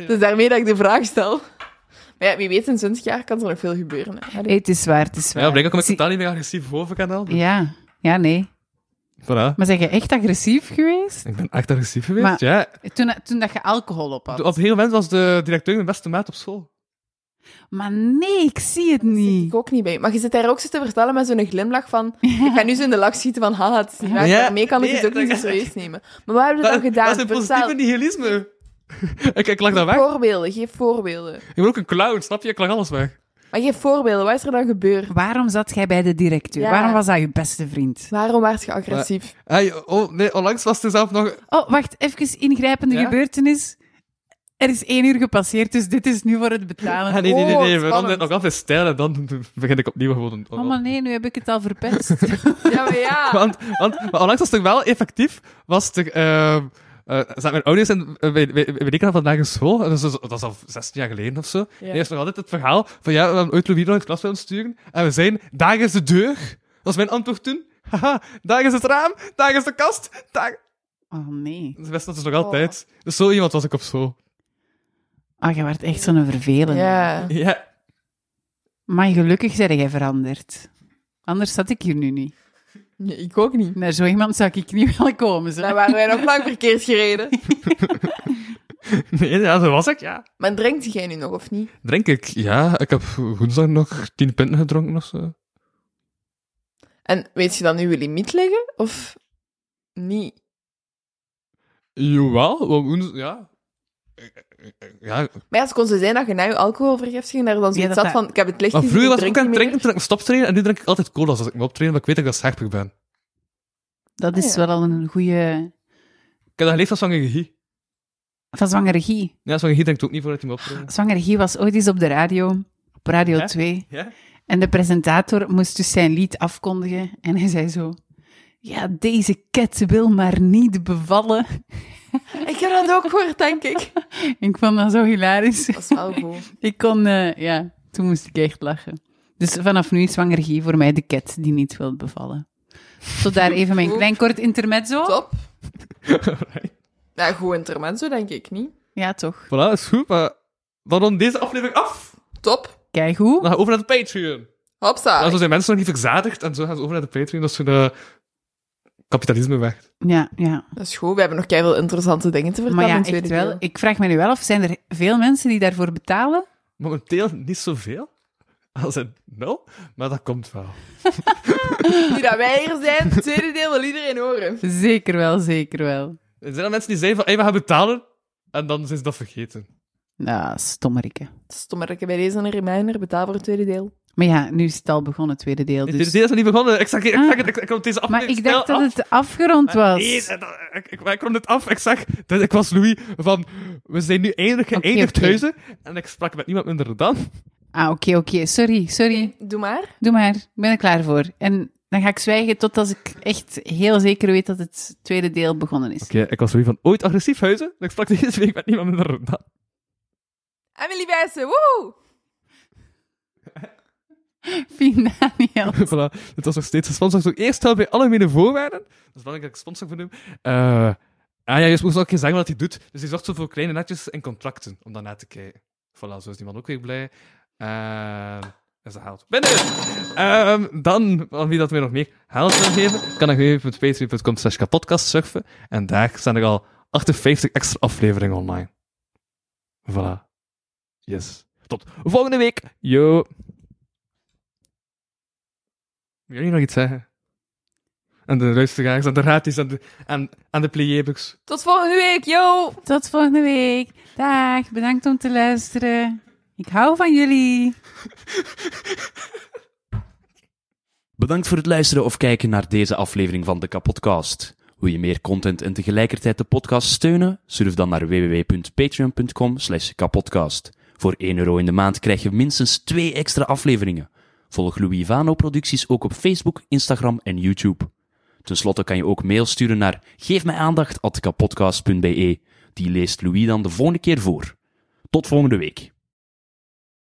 Speaker 5: Dus daarmee dat ik de vraag stel. Maar ja, wie weet, in 20 jaar kan er nog veel gebeuren. Hè.
Speaker 3: Hey,
Speaker 5: Allee.
Speaker 3: het is waar, het is waar.
Speaker 4: Ja, blijkbaar kom ik
Speaker 3: Zie-
Speaker 4: totaal niet meer agressief bovenkanaal. Dus.
Speaker 3: Ja, ja, nee.
Speaker 4: Voilà.
Speaker 3: Maar zijn je echt agressief geweest?
Speaker 4: Ik ben echt agressief geweest,
Speaker 3: Maar-
Speaker 4: ja.
Speaker 3: Toen, toen dat je alcohol op had.
Speaker 4: Op een gegeven moment was de directeur mijn beste maat op school.
Speaker 3: Maar nee, ik zie het
Speaker 5: Ik
Speaker 3: niet.
Speaker 5: ook niet bij. Maar je zit daar ook zo te vertellen met zo'n glimlach van... Ik ga nu zo in de lach schieten van... Haha, het is niet waar.
Speaker 4: Ja,
Speaker 5: Daarmee kan ik
Speaker 4: nee,
Speaker 5: het ook
Speaker 4: dat-
Speaker 5: niet zo serieus nemen. Maar wat hebben we dan gedaan?
Speaker 4: dat is een
Speaker 5: Vertel.
Speaker 4: positieve nihilisme. ik, ik lag daar weg.
Speaker 5: Voorbeelden, geef voorbeelden.
Speaker 4: Ik ben ook een clown, snap je? Ik lag alles weg.
Speaker 5: Maar geef voorbeelden, wat is er dan gebeurd?
Speaker 3: Waarom zat jij bij de directeur?
Speaker 5: Ja.
Speaker 3: Waarom was dat je beste vriend?
Speaker 5: Waarom werd je agressief?
Speaker 4: Hey, oh, nee, onlangs was er zelf nog...
Speaker 3: Oh, wacht, even ingrijpende
Speaker 4: Ja?
Speaker 3: gebeurtenis. Er is één uur gepasseerd, dus dit is nu voor het betalen.
Speaker 4: Ah, nee, nee, nee,
Speaker 5: Oh,
Speaker 4: nee. we ronden het
Speaker 5: spannend.
Speaker 4: nog af in stijl en dan begin ik opnieuw gewoon...
Speaker 3: Oh, maar nee, nu heb ik het al verpest.
Speaker 5: Ja, maar ja.
Speaker 4: Want, want maar onlangs was het wel effectief, was er... ehm eh, zaten mijn ouders en uh, wij, wij, wij leken vandaag in school, en dat is, dus- dat is al 16 jaar geleden of zo.
Speaker 5: Ja.
Speaker 4: En er is nog altijd het verhaal van ja, we hebben ooit Louis nog in het klas willen sturen. En we zijn, daar is de deur. Dat was mijn antwoord toen. Haha, daar is het raam, daar is de kast, daar...
Speaker 3: Oh nee.
Speaker 4: Dat wisten ze nog
Speaker 5: Oh.
Speaker 4: altijd. Dus zo iemand was ik op school.
Speaker 3: Oh, je werd echt zo'n vervelende.
Speaker 5: Ja.
Speaker 4: Ja.
Speaker 3: Maar gelukkig zijn jij veranderd. Anders zat ik hier nu niet.
Speaker 5: Nee, ik ook niet.
Speaker 3: Naar zo iemand zou ik niet willen komen. Zo.
Speaker 5: Dan waren wij nog lang verkeerd gereden.
Speaker 4: Nee, ja, zo was ik, ja.
Speaker 5: Maar drinkt jij nu nog of niet?
Speaker 4: Drink ik? Ja, ik heb woensdag nog tien punten gedronken of zo.
Speaker 5: En weet je dan nu je limiet liggen? Of niet?
Speaker 4: Jawel, want woensdag, ja. Ja,
Speaker 5: Maar ja, het kon zo zijn dat je na je alcoholvergiftiging daar dan zoiets
Speaker 3: dat
Speaker 5: zat
Speaker 3: dat-
Speaker 5: van... Ik heb het licht
Speaker 4: maar
Speaker 5: gezien,
Speaker 4: vroeger was ik
Speaker 5: drink
Speaker 4: ook aan het
Speaker 5: niet meer.
Speaker 4: drinken toen ik stoptrainen en nu drink ik altijd cola als ik me optrain, want ik weet dat ik dat scherpig ben.
Speaker 3: Dat is
Speaker 5: Ah, ja.
Speaker 3: wel al een goede...
Speaker 4: Ik heb dat geleefd van Zwangere Guy.
Speaker 3: Van Zwangere Guy.
Speaker 4: Ja, Zwangere Guy drinkt ook niet voordat hij me optraint.
Speaker 3: Zwangere Guy was ooit eens op de radio, op Radio
Speaker 4: Ja?
Speaker 3: 2.
Speaker 4: Ja?
Speaker 3: En de presentator moest dus zijn lied afkondigen. En hij zei zo... Ja, deze ket wil maar niet bevallen.
Speaker 5: Ik heb dat ook gehoord, denk ik.
Speaker 3: Ik vond dat zo hilarisch.
Speaker 5: Dat is wel goed.
Speaker 3: Ik kon... eh, ja, toen moest ik echt lachen. Dus vanaf nu is Zwangere Guy voor mij de ket die niet wil bevallen. Tot daar even mijn klein kort intermezzo.
Speaker 5: Top.
Speaker 4: Alright.
Speaker 5: Ja, goed intermezzo, denk ik niet.
Speaker 3: Ja, toch.
Speaker 4: Voilà, is goed, maar dan rond deze aflevering af.
Speaker 5: Top.
Speaker 3: Kijk hoe.
Speaker 4: Dan gaan we over naar de Patreon.
Speaker 5: Hopsa.
Speaker 4: Ja, zo zijn mensen nog niet verzadigd en zo gaan ze over naar de Patreon. Dat is hun eh, kapitalisme weg.
Speaker 3: Ja, ja.
Speaker 5: Dat is goed, we hebben nog keihard interessante dingen te vertellen
Speaker 3: Maar ja,
Speaker 5: in het tweede
Speaker 3: echt wel.
Speaker 5: deel.
Speaker 3: Ik vraag me nu wel af, zijn er veel mensen die daarvoor betalen?
Speaker 4: Momenteel niet zoveel als het nul, maar dat komt wel.
Speaker 5: Nu dat wij hier zijn, het tweede deel wil iedereen horen.
Speaker 3: Zeker wel, zeker wel.
Speaker 4: Er zijn al mensen die zeggen van, hey, we gaan betalen. En dan zijn ze dat vergeten.
Speaker 3: Nou, stommerikke.
Speaker 5: Stom dat ik bij deze een reminder betaal voor het tweede deel.
Speaker 3: Maar ja, nu is het al begonnen, het tweede deel.
Speaker 4: Dus... Dit
Speaker 3: Dus.
Speaker 4: is nog niet begonnen. Ik zeg, ik, zeg het, ik, ik rond deze af.
Speaker 3: Ah. Maar ik dacht dat het afgerond
Speaker 4: Nee,
Speaker 3: was.
Speaker 4: dat- ik, ik, ik rond het af. Ik zeg, dat, ik was Louis van, we zijn nu eindelijk geëindigd
Speaker 3: oké.
Speaker 4: huizen. En ik sprak met niemand minder dan.
Speaker 3: Ah, oké, oké. Sorry, sorry.
Speaker 5: Doe maar.
Speaker 3: Doe maar. Ik ben er klaar voor. En dan ga ik zwijgen totdat ik echt heel zeker weet dat het tweede deel begonnen is.
Speaker 4: Oké, ik was Louis van ooit agressief huizen. En ik sprak deze week met niemand minder dan.
Speaker 5: Emily Wijssen, woehoe!
Speaker 3: Fien Daniel.
Speaker 4: voilà, dit was nog steeds een sponsor. Zo eerst help bij algemene voorwaarden. Dat is belangrijk dat ik sponsor voor noem. Eh, ah ja, je moest ook geen zeggen wat hij doet. Dus hij zorgt zo voor kleine netjes en contracten om daarna te kijken. Voilà, zo is die man ook weer blij. Ehm, En en ze haalt. Binnen! Ehm, dan, aan wie dat mij nog meer help wil geven, kan ik www.patreon.com slash kapodcast surfen. En daar staan er al 58 extra afleveringen online. Voilà. Yes. Tot volgende week. Yo. Wil jullie nog iets zeggen? Aan de luisteraars, aan de raties, aan de, aan, aan de pleiebeks.
Speaker 5: Tot volgende week, yo!
Speaker 3: Tot volgende week. Dag, bedankt om te luisteren. Ik hou van jullie.
Speaker 2: Bedankt voor het luisteren of kijken naar deze aflevering van de Kapodcast. Wil je meer content en tegelijkertijd de podcast steunen? Surf dan naar www.patreon.com slash kapodcast. Voor 1 euro in de maand krijg je minstens 2 extra afleveringen. Volg Louis Vano producties ook op Facebook, Instagram en YouTube. Ten slotte kan je ook mail sturen naar geefmijaandacht.kapodcast.be. Die leest Louis dan de volgende keer voor. Tot volgende week.